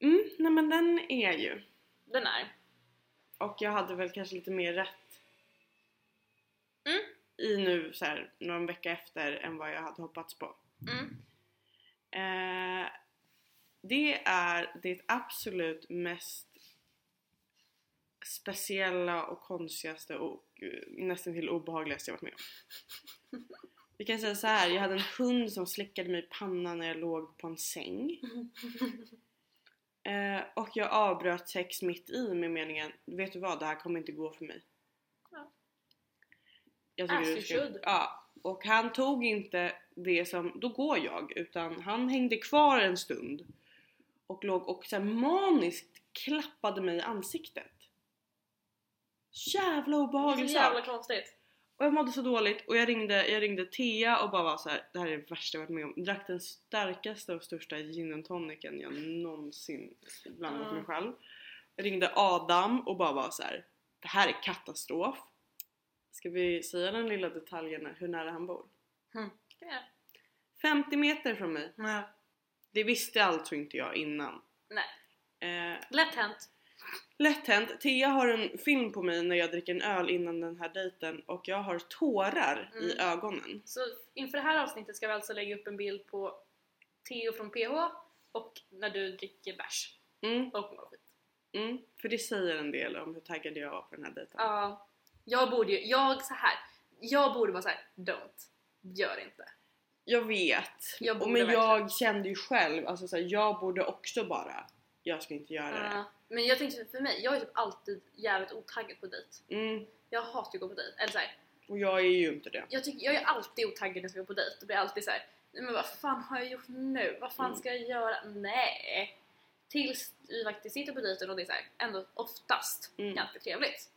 Speaker 1: Mm, nej men den är ju.
Speaker 2: Den är.
Speaker 1: Och jag hade väl kanske lite mer rätt
Speaker 2: Mm.
Speaker 1: i nu så här, någon vecka efter än vad jag hade hoppats på.
Speaker 2: Mm.
Speaker 1: Eh, det är det absolut mest speciella och konstigaste och eh, nästan till obehagligaste jag varit med om. Vi kan säga så här, jag hade en hund som slickade mig i pannan när jag låg på en säng. Eh, och jag avbröt sex mitt i med meningen, vet du vad, det här kommer inte gå för mig.
Speaker 2: Ja.
Speaker 1: Jag tycker
Speaker 2: As
Speaker 1: du
Speaker 2: you
Speaker 1: ska-
Speaker 2: should.
Speaker 1: Ja. Och han tog inte det som, då går jag, utan han hängde kvar en stund och låg och så här maniskt klappade mig i ansiktet. Jävla
Speaker 2: Det är
Speaker 1: obehaglig
Speaker 2: så
Speaker 1: sak!
Speaker 2: jävla konstigt.
Speaker 1: Och jag mådde så dåligt och jag ringde, jag ringde Thea och bara var så här, det här är det värsta jag varit med om. Drack den starkaste och största gin and tonicen jag någonsin blandat
Speaker 2: Mm.
Speaker 1: mig själv. Jag ringde Adam och bara var så här, det här är katastrof. Ska vi säga den lilla detaljen hur nära han bor?
Speaker 2: Det är-
Speaker 1: 50 meter från mig. Det visste alltså inte jag innan.
Speaker 2: Nej.
Speaker 1: Eh,
Speaker 2: Lätt hänt.
Speaker 1: Lätt hänt. Thea har en film på mig när jag dricker en öl innan den här dejten och jag har tårar i
Speaker 2: Mm.
Speaker 1: ögonen.
Speaker 2: Så inför det här avsnittet ska vi alltså lägga upp en bild på Theo från PH och när du dricker bärs
Speaker 1: Mm.
Speaker 2: och mår skit.
Speaker 1: Mm, för det säger en del om hur taggad jag var på den här dejten.
Speaker 2: Ja, jag borde ju, jag så här. jag borde vara så här. don't. Gör inte.
Speaker 1: Jag vet.
Speaker 2: Jag
Speaker 1: och
Speaker 2: borde
Speaker 1: men
Speaker 2: verkligen.
Speaker 1: jag kände ju själv, alltså så här, jag borde också bara, jag ska inte göra
Speaker 2: Ja, men jag tänkte för mig, jag är typ alltid jävligt otaggad på dejt.
Speaker 1: det. Mm,
Speaker 2: Jag hatar att gå på dejt. Eller så här,
Speaker 1: och jag är ju inte det.
Speaker 2: jag, tycker, jag är alltid otaggad när jag ska gå på dejt och blir alltid så här. "Nej, men vad fan har jag gjort nu? Vad fan
Speaker 1: Mm.
Speaker 2: ska jag göra? Nej! Tills vi faktiskt sitter på dejten och det är så här, ändå oftast
Speaker 1: Mm.
Speaker 2: ganska trevligt.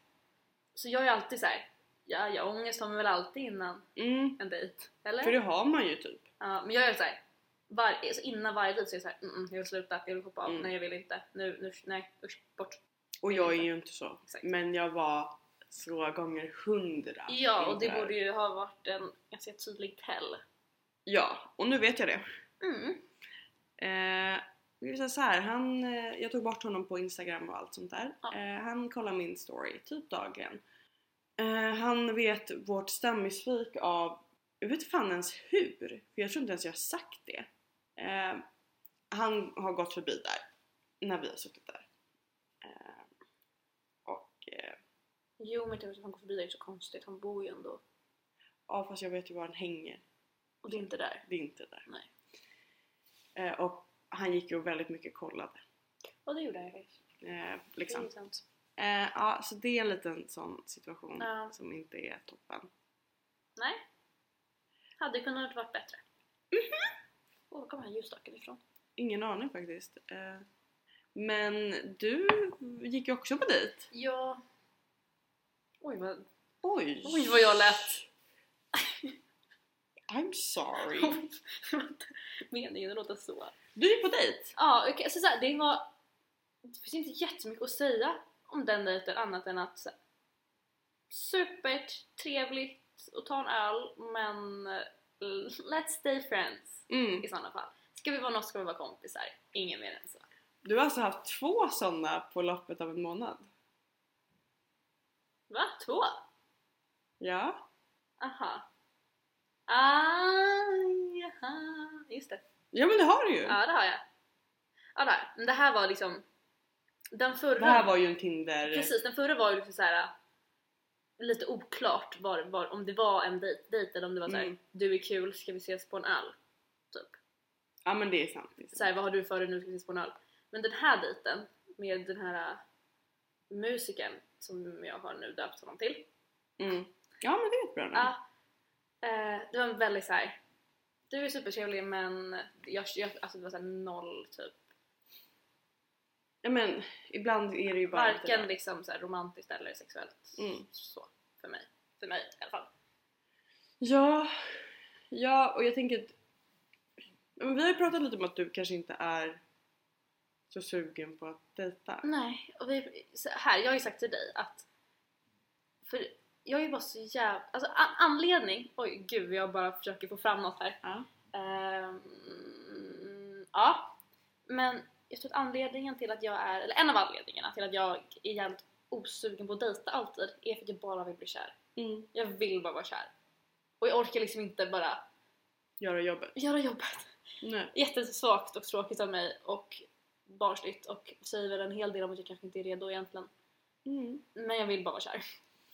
Speaker 2: Så jag är alltid så här. ja jag ångest har man väl alltid innan
Speaker 1: Mm,
Speaker 2: en dejt? Eller?
Speaker 1: för det har man ju typ.
Speaker 2: Ja, men jag är såhär, var, alltså innan varje dejt så är jag såhär, mm, mm, jag vill sluta, jag vill hoppa av,
Speaker 1: Mm.
Speaker 2: nej jag vill inte, nu, nu, nej usch, bort.
Speaker 1: Och jag är ju inte så.
Speaker 2: Exakt.
Speaker 1: Men jag var så gånger hundra.
Speaker 2: Ja, och det
Speaker 1: inför-
Speaker 2: borde ju ha varit en ganska tydlig tell.
Speaker 1: Ja, och nu vet jag det.
Speaker 2: Mm.
Speaker 1: Eh, vi vill säga så här, han, eh, jag tog bort honom på Instagram och allt sånt där.
Speaker 2: Ja.
Speaker 1: Eh, han kollar min story typ dagligen. Eh, han vet vårt stämningsvik av, jag vet fan ens hur, för jag tror inte ens jag har sagt det. Eh, han har gått förbi där, när vi har suttit där. Eh, och, eh,
Speaker 2: Jo men tänk att han går förbi dig är så konstigt, han bor ju ändå.
Speaker 1: ja fast jag vet ju var han hänger.
Speaker 2: Och det är inte där.
Speaker 1: Det är inte där.
Speaker 2: Nej.
Speaker 1: Eh, och han gick ju väldigt mycket kollade.
Speaker 2: Och det gjorde han ju faktiskt.
Speaker 1: Eh,
Speaker 2: Det är
Speaker 1: liksom.
Speaker 2: ju sant.
Speaker 1: Eh, ja, så det är en liten sån situation
Speaker 2: Ja.
Speaker 1: som inte är toppen.
Speaker 2: Nej. Hade kunnat varit bättre. Åh, Mm-hmm. var kom den här ljusstaken ifrån?
Speaker 1: Ingen aning faktiskt. Eh, men du gick ju också på dejt.
Speaker 2: Ja... Oj vad,
Speaker 1: Oj!
Speaker 2: oj, vad jag lät!
Speaker 1: I'm sorry.
Speaker 2: Meningen att låta så.
Speaker 1: Du gick på dejt?
Speaker 2: Ja, okej, så, så här, det var... Det finns inte jättemycket att säga om den dejten annat än att så här, supertrevligt att ta en öl men eh, let's stay friends
Speaker 1: Mm.
Speaker 2: i sådana fall. Ska vi vara något ska vi vara kompisar. Ingen mer än så.
Speaker 1: Du har alltså haft två sådana på loppet av en månad?
Speaker 2: Va? Två?
Speaker 1: Ja.
Speaker 2: Aha. Ah, jaha. Just det.
Speaker 1: Ja men det har du ju!
Speaker 2: Ja, det har jag. Ja, det har jag. Men det här var liksom... Den förra...
Speaker 1: Det här var ju en Tinder...
Speaker 2: Precis, den förra var ju liksom så här lite oklart var, var, om det var en dejt, dejt eller om det var så här,
Speaker 1: Mm.
Speaker 2: du är kul, ska vi ses på en öl? Typ.
Speaker 1: Ja men det är sant. Det är sant.
Speaker 2: Så här, vad har du för dig nu, ska vi ses på en öl? Men den här dejten med den här äh, musikern som jag har nu döpt honom till.
Speaker 1: Mm. Ja men det är ett bra namn.
Speaker 2: Ja, eh, det var en väldigt så här. du är supertrevlig men jag, jag, alltså det var så här noll typ.
Speaker 1: Ja men ibland är det ju bara...
Speaker 2: Varken
Speaker 1: inte det.
Speaker 2: liksom så här romantiskt eller sexuellt
Speaker 1: Mm.
Speaker 2: så för mig. För mig i alla fall.
Speaker 1: Ja. Ja och jag tänker att... Ja, Men vi har ju pratat lite om att du kanske inte är så sugen på att dejta.
Speaker 2: Nej, och vi, så här, jag har ju sagt till dig att för jag är ju bara så jävla, alltså a- anledning, oj gud jag bara försöker få fram något här.
Speaker 1: Ja.
Speaker 2: Ehm, ja, men jag tror att anledningen till att jag är, eller en av anledningarna till att jag är jävligt osugen på att dejta alltid är för att jag bara vill bli kär.
Speaker 1: Mm.
Speaker 2: Jag vill bara vara kär. Och jag orkar liksom inte bara
Speaker 1: Göra jobbet.
Speaker 2: göra jobbet.
Speaker 1: Nej.
Speaker 2: Jättesvagt och tråkigt av mig och barnsligt och säger väl en hel del om att jag kanske inte är redo egentligen.
Speaker 1: Mm.
Speaker 2: Men jag vill bara vara kär.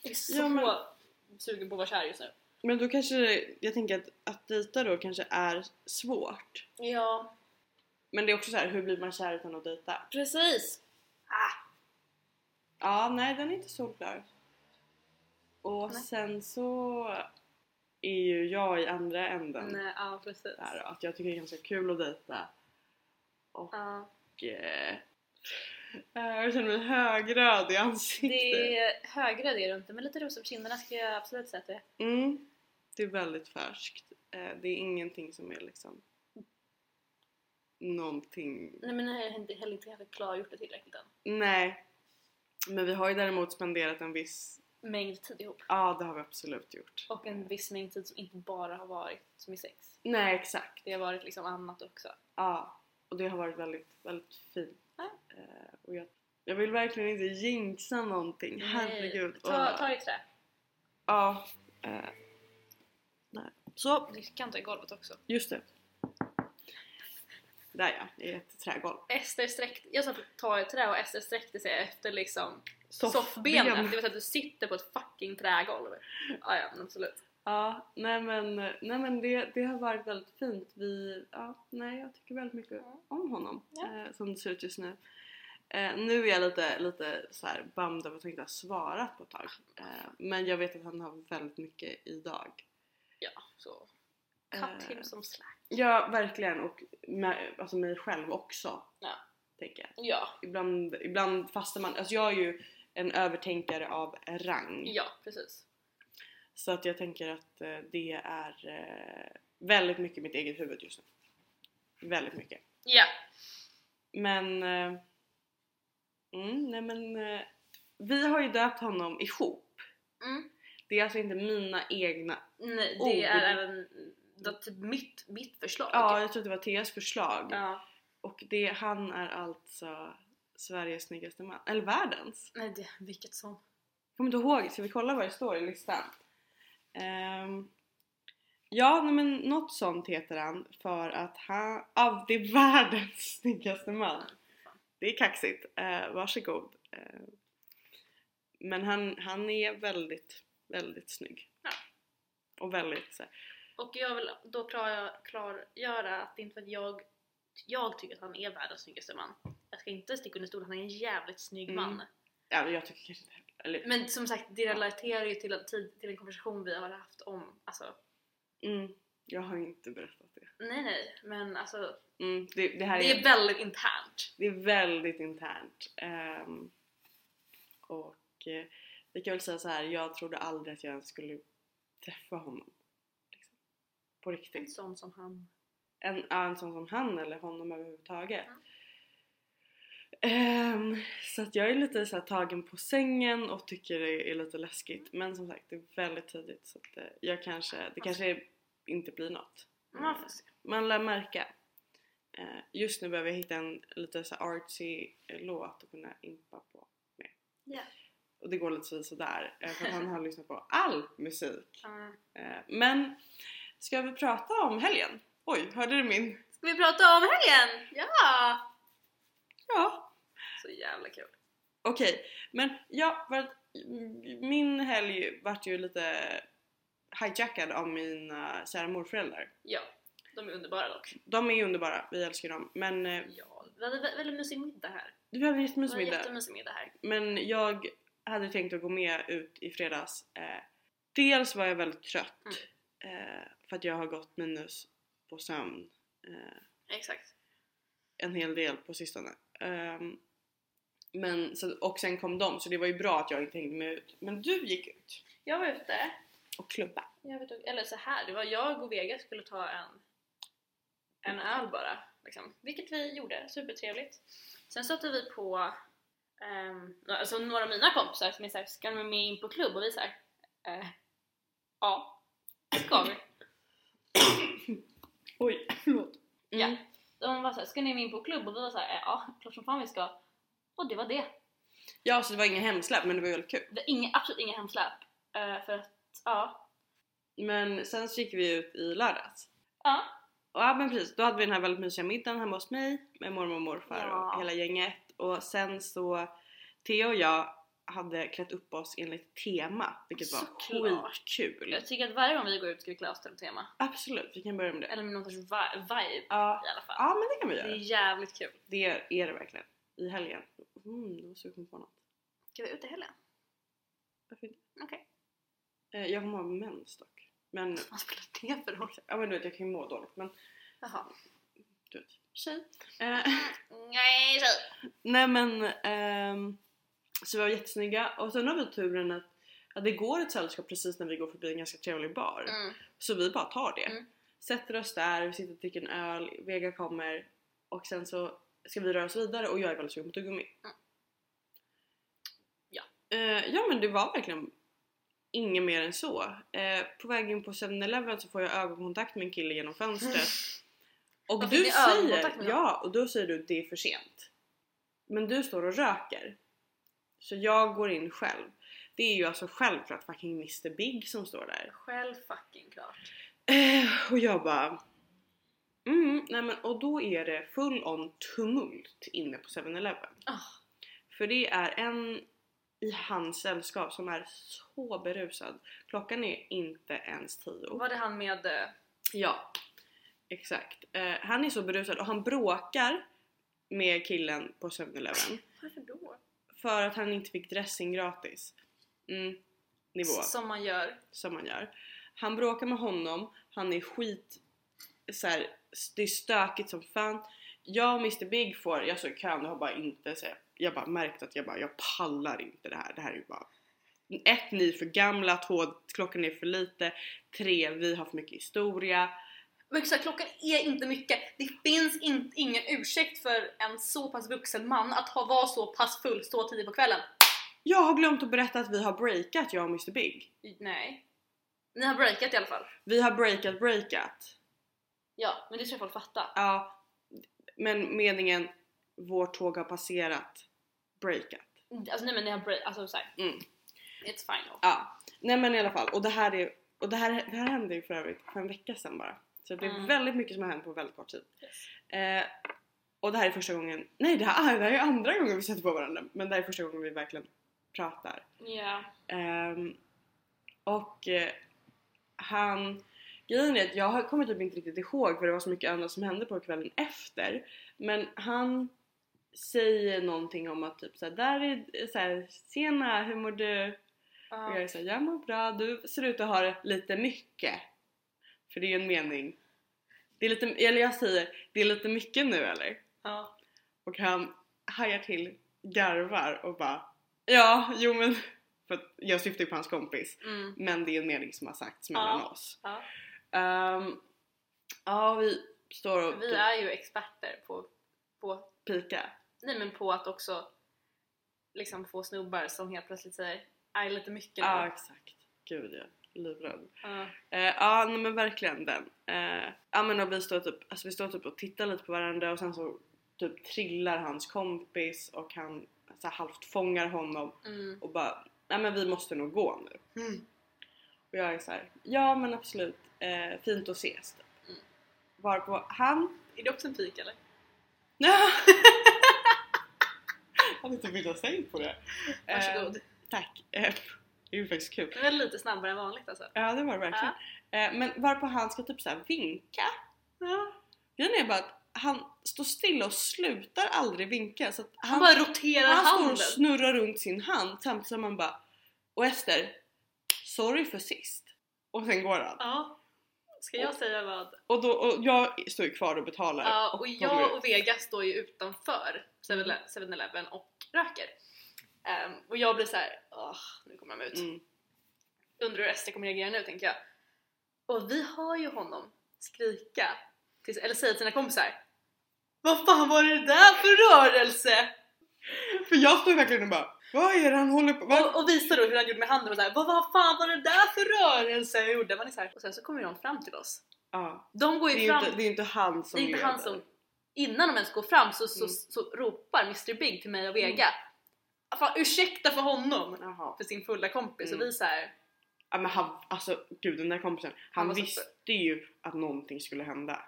Speaker 2: Jag är så
Speaker 1: Ja, men-
Speaker 2: sugen på att vara kär just nu.
Speaker 1: Men då kanske det, jag tänker att, att dejta då kanske är svårt.
Speaker 2: Ja,
Speaker 1: Men det är också så här, hur blir man kär utan att dejta?
Speaker 2: precis!
Speaker 1: Ja, nej den är inte solklar. Och
Speaker 2: Nej.
Speaker 1: sen så är ju jag i andra änden
Speaker 2: Nej, ja, precis.
Speaker 1: där då, att jag tycker det är ganska kul att dejta
Speaker 2: Ja,
Speaker 1: och eh, jag känner mig högröd i ansiktet.
Speaker 2: det är högre det är du inte, men lite ros om kinderna ska jag absolut säga att det är.
Speaker 1: Mm, det är väldigt färskt. Eh, det är ingenting som är liksom någonting
Speaker 2: Nej men nu har jag inte- heller inte kanske klargjort det tillräckligt än.
Speaker 1: Nej. Men vi har ju däremot spenderat en viss...
Speaker 2: Mängd tid ihop.
Speaker 1: Ja, det har vi absolut gjort.
Speaker 2: Och en viss mängd tid som inte bara har varit som i sex.
Speaker 1: Nej, exakt.
Speaker 2: Det har varit liksom annat också.
Speaker 1: Ja. Och det har varit väldigt, väldigt fint.
Speaker 2: Ja.
Speaker 1: Eh, och jag, jag vill verkligen inte jinxa någonting. Herregud.
Speaker 2: Ta,
Speaker 1: Och-
Speaker 2: ta i trä.
Speaker 1: Ja. Eh, nej. Så,
Speaker 2: Du kan ta i golvet också.
Speaker 1: just det. Där ja, det är ett trägolv.
Speaker 2: Ester sträckte, jag sa ta i trä och Ester sträckte sig efter liksom
Speaker 1: Soffben.
Speaker 2: soffbenet. Det vill säga att du sitter på ett fucking trägolv. Ah, ja, men absolut.
Speaker 1: Ja, nej men, nej men det, det har varit väldigt fint. Vi, ja, nej, jag tycker väldigt mycket om honom
Speaker 2: Ja.
Speaker 1: eh, som det ser ut just nu. Eh, nu är jag lite, lite så här bummed över att jag inte har svarat på ett tag. Eh, men jag vet att han har väldigt mycket idag.
Speaker 2: Ja, så. Cut
Speaker 1: Eh.
Speaker 2: him som slack.
Speaker 1: Ja, verkligen. Och med, alltså mig själv också.
Speaker 2: Ja.
Speaker 1: Tänker jag.
Speaker 2: Ja,
Speaker 1: Ibland, ibland fastnar man. Alltså jag är ju en övertänkare av rang.
Speaker 2: ja precis.
Speaker 1: Så att jag tänker att eh, det är eh, väldigt mycket mitt eget huvud just nu. Väldigt mycket.
Speaker 2: Ja,
Speaker 1: Men... Eh, mm, nej men... Eh, vi har ju döpt honom ihop.
Speaker 2: Mm.
Speaker 1: Det är alltså inte mina egna...
Speaker 2: nej det
Speaker 1: Oh, det-
Speaker 2: är även det, var typ mitt, mitt förslag.
Speaker 1: Ja, jag tror att det var Theas förslag.
Speaker 2: ja.
Speaker 1: Och det, han är alltså Sveriges snyggaste man. Eller världens!
Speaker 2: Nej, det, vilket som.
Speaker 1: Kommer inte ihåg, ska vi kolla vad det står i listan? Ehm, ja, nej men något sånt heter han för att han... Ja, det är världens snyggaste man. Det är kaxigt. Eh, varsågod. Eh, men han, han är väldigt, väldigt snygg.
Speaker 2: Ja.
Speaker 1: Och väldigt så här,
Speaker 2: Och jag vill då klar, klargöra att det inte för att jag, jag tycker att han är världens snyggaste man. Jag ska inte sticka under stol, han är en jävligt snygg
Speaker 1: Mm.
Speaker 2: man.
Speaker 1: ja, men jag tycker kanske inte heller- eller,
Speaker 2: Men som sagt, det relaterar ju till, till, till en konversation vi har haft om, alltså,
Speaker 1: mm, Jag har inte berättat det.
Speaker 2: nej nej, men alltså
Speaker 1: Mm, det, det här
Speaker 2: det
Speaker 1: är,
Speaker 2: är väldigt internt.
Speaker 1: det är väldigt internt. Ehm, och eh, vi kan väl säga så här, jag trodde aldrig att jag ens skulle träffa honom. Liksom. På
Speaker 2: En
Speaker 1: riktigt.
Speaker 2: sån som han.
Speaker 1: En, ja, en sån som han eller honom överhuvudtaget.
Speaker 2: Mm.
Speaker 1: Ehm, så att jag är lite så här tagen på sängen och tycker det är lite läskigt. Men som sagt det är väldigt tidigt så att eh, jag kanske, det kanske är, inte blir något.
Speaker 2: Man får se.
Speaker 1: Man lär märka. Eh, just nu behöver jag hitta en lite så här artsy eh, låt att kunna impa på.
Speaker 2: Ja.
Speaker 1: Och det går lite sådär eh, för att han har lyssnat på all musik.
Speaker 2: Mm.
Speaker 1: Eh, men ska vi prata om helgen? Oj, hörde du min?
Speaker 2: Ska vi prata om helgen? Ja!
Speaker 1: Ja.
Speaker 2: Så jävla kul.
Speaker 1: Okej, men ja, för att mm, min helg vart ju lite hijackad av mina kära morföräldrar.
Speaker 2: Ja, de är underbara dock.
Speaker 1: De är ju underbara, vi älskar dem. Men eh,
Speaker 2: Ja, vi hade vä- väldigt mysig middag här.
Speaker 1: vi hade en
Speaker 2: Det
Speaker 1: jättemysig
Speaker 2: var en
Speaker 1: middag.
Speaker 2: jättemysig middag här.
Speaker 1: Men jag hade tänkt att gå med ut i fredags. Eh, dels var jag väldigt trött eh, för att jag har gått minus på sömn eh,
Speaker 2: Exakt.
Speaker 1: en hel del på sistone. Ehm, men, så, och sen kom de så det var ju bra att jag inte hängde med ut. Men du gick ut
Speaker 2: Jag var ute.
Speaker 1: och klubba.
Speaker 2: Jag vet, inte- eller så här, det var jag och Vega skulle ta en, en öl bara. Liksom. Vilket vi gjorde, supertrevligt. Sen stötte vi på ehm, nå- alltså några av mina kompisar som är såhär, ska ni med in på klubb? Och vi såhär, eh, ja, ska vi.
Speaker 1: Oj, förlåt.
Speaker 2: Ja. De var såhär, ska ni med in på klubb? Och vi var såhär, eh, ja, klart som fan vi ska. Och det var det.
Speaker 1: Ja, så det var inga hemsläpp men det var ju väldigt kul.
Speaker 2: Det var inga, absolut inga hemsläpp. Eh, för att, ja.
Speaker 1: Men sen så gick vi ut i lördags.
Speaker 2: Ja,
Speaker 1: Och Ja men precis, då hade vi den här väldigt mysiga middagen hemma hos mig med mormor och morfar
Speaker 2: Ja.
Speaker 1: och hela gänget. Och sen så Theo och jag hade klätt upp oss enligt tema vilket var
Speaker 2: Såklart.
Speaker 1: skitkul.
Speaker 2: jag tycker att varje gång vi går ut ska vi klä oss till ett tema.
Speaker 1: Absolut, vi kan börja med det.
Speaker 2: Eller med någon sorts vi- vibe
Speaker 1: Ja,
Speaker 2: i alla fall.
Speaker 1: ja men det kan vi
Speaker 2: Det är
Speaker 1: göra.
Speaker 2: jävligt kul.
Speaker 1: Det är det verkligen. I helgen. Mm, då var jag sugen på något.
Speaker 2: Ska vi ut i helgen?
Speaker 1: Varför inte?
Speaker 2: Okej.
Speaker 1: Eh, Jag kommer ha mens dock. Men,
Speaker 2: Vad spelar det för roll?
Speaker 1: ja men du vet jag kan ju må dåligt men
Speaker 2: Jaha.
Speaker 1: du vet. Tjej. Eh,
Speaker 2: Nej tjej!
Speaker 1: Nej men ehm, så vi var jättesnygga och sen har vi turen att, att det går ett sällskap precis när vi går förbi en ganska trevlig bar.
Speaker 2: Mm.
Speaker 1: Så vi bara tar det.
Speaker 2: Mm.
Speaker 1: Sätter oss där, vi sitter och dricker en öl, Vega kommer och sen så ska vi röra oss vidare och jag är väldigt sugen på tuggummi.
Speaker 2: Mm. Ja.
Speaker 1: Eh, ja men det var verkligen inget mer än så. Eh, på väg in på 7-Eleven så får jag ögonkontakt med en kille genom fönstret. Och
Speaker 2: Varför
Speaker 1: du
Speaker 2: det är ögonkontakt
Speaker 1: säger,
Speaker 2: med honom?
Speaker 1: ja, och då säger du det är för sent. Men du står och röker. Så jag går in själv. Det är ju alltså självklart fucking Mr Big som står där.
Speaker 2: Själv fucking klart.
Speaker 1: Eh, och jag bara... Mm, nej men, och då är det full on tumult inne på 7-Eleven.
Speaker 2: Ah.
Speaker 1: För det är en i hans sällskap som är så berusad. Klockan är inte ens tio.
Speaker 2: Var det han med... eh,
Speaker 1: Ja, exakt. Eh, han är så berusad och han bråkar med killen på 7-Eleven
Speaker 2: Varför då?
Speaker 1: för att han inte fick dressing gratis. Mm, nivå
Speaker 2: Som man gör.
Speaker 1: som man gör. Han bråkar med honom, han är skit... Så här, det är stökigt som fan. Jag och Mr Big får, jag såg kön och har bara inte så här, jag bara märkt att jag bara, jag pallar inte det här. Det här är ju bara... Ett, ni är för gamla, två, klockan är för lite, tre, vi har för mycket historia.
Speaker 2: Men så här, klockan är inte mycket. Det finns in, ingen ursäkt för en så pass vuxen man att ha, vara så pass full så tidigt på kvällen.
Speaker 1: Jag har glömt att berätta att vi har breakat jag och Mr Big.
Speaker 2: Nej. Ni har breakat i alla fall.
Speaker 1: Vi har breakat breakat.
Speaker 2: Ja, men det tror jag folk fattar.
Speaker 1: Ja, men meningen vårt tåg har passerat breakat.
Speaker 2: Alltså nej men ni har breakat, alltså såhär.
Speaker 1: Mm.
Speaker 2: It's final.
Speaker 1: Ja, nej men i alla fall och det här är och det här, det här hände ju för övrigt för en vecka sedan bara. Så det är
Speaker 2: Mm.
Speaker 1: väldigt mycket som har hänt på väldigt kort tid.
Speaker 2: Yes.
Speaker 1: Eh, och det här är första gången, nej det här, det här är andra gången vi sätter på varandra men det här är första gången vi verkligen pratar.
Speaker 2: Ja.
Speaker 1: Ehm, och eh, han... Grejen är att jag har- kommer typ inte riktigt ihåg för det var så mycket annat som hände på kvällen efter. Men han säger någonting om att typ såhär, där är såhär, tjena hur mår du? Och jag är såhär, jag mår bra, du ser ut att ha det lite mycket. För det är ju en mening. Det är lite, eller jag säger, det är lite mycket nu eller?
Speaker 2: Ja.
Speaker 1: Och han hajar till, garvar och bara Ja, jo men för att jag syftar ju på hans kompis
Speaker 2: Mm.
Speaker 1: men det är en mening som har sagts mellan
Speaker 2: Ja.
Speaker 1: oss.
Speaker 2: Ja.
Speaker 1: Ehm, Ja, vi står och
Speaker 2: Vi är ju experter på, på,
Speaker 1: pika.
Speaker 2: nej, men på att också liksom få snubbar som helt plötsligt säger är lite mycket
Speaker 1: Ja,
Speaker 2: nu."
Speaker 1: ah, exakt. Gud ja, livrädd.
Speaker 2: Ja.
Speaker 1: Ja eh, ja, nej men verkligen den. Eh, ja men och vi står, typ, alltså vi står typ och tittar lite på varandra och sen så typ trillar hans kompis och han så här, halvt fångar honom
Speaker 2: Mm.
Speaker 1: och bara nej men vi måste nog gå nu. Och jag är så här, ja men absolut, eh, fint att ses. Typ.
Speaker 2: Mm.
Speaker 1: Varpå han...
Speaker 2: Är det också en pik eller?
Speaker 1: Han inte vill ha sänkt på det. Eh,
Speaker 2: Varsågod.
Speaker 1: tack. Eh, det är ju faktiskt kul.
Speaker 2: Det är väl lite snabbare än vanligt alltså.
Speaker 1: Ja det var det verkligen. Eh, men varpå han ska typ så här vinka. Ja. Grejen är bara att han står stilla och slutar aldrig vinka. Så att han,
Speaker 2: Han bara roterar
Speaker 1: han står
Speaker 2: handen.
Speaker 1: och snurrar runt sin hand samtidigt som man bara Och Ester, sorry för sist. Och sen går han.
Speaker 2: Ja. Ska jag säga vad?
Speaker 1: Och, då, och jag står ju kvar och betalar.
Speaker 2: Ja, och
Speaker 1: kommer-
Speaker 2: jag och Vega står ju utanför 7-Ele- 7-Eleven och röker. Ehm, och jag blir så här, åh, nu kommer de ut.
Speaker 1: Mm.
Speaker 2: Undrar hur Ester kommer reagera nu tänker jag. Och vi har ju honom skrika, till, eller säga till sina kompisar Vad fan var det där för rörelse?
Speaker 1: För jag står verkligen och bara Vad är det han håller på med?
Speaker 2: Och, och visar då hur han gjorde med handen och så här, vad, vad fan var det där för rörelse jag gjorde? Man är så här, och sen så kommer de fram till oss.
Speaker 1: Ja.
Speaker 2: De går
Speaker 1: Det är
Speaker 2: ju
Speaker 1: ju
Speaker 2: fram,
Speaker 1: inte, det är inte han som
Speaker 2: det är inte
Speaker 1: gör
Speaker 2: han
Speaker 1: det.
Speaker 2: som, innan de ens går fram så, så,
Speaker 1: Mm.
Speaker 2: så ropar Mr Big till mig och Vega "Ah, Fan, ursäkta för honom!
Speaker 1: Jaha.
Speaker 2: För sin fulla kompis
Speaker 1: Mm.
Speaker 2: och vi så här,
Speaker 1: Ja men han, alltså gud den där kompisen, han,
Speaker 2: Han var så
Speaker 1: visste ju att någonting skulle hända.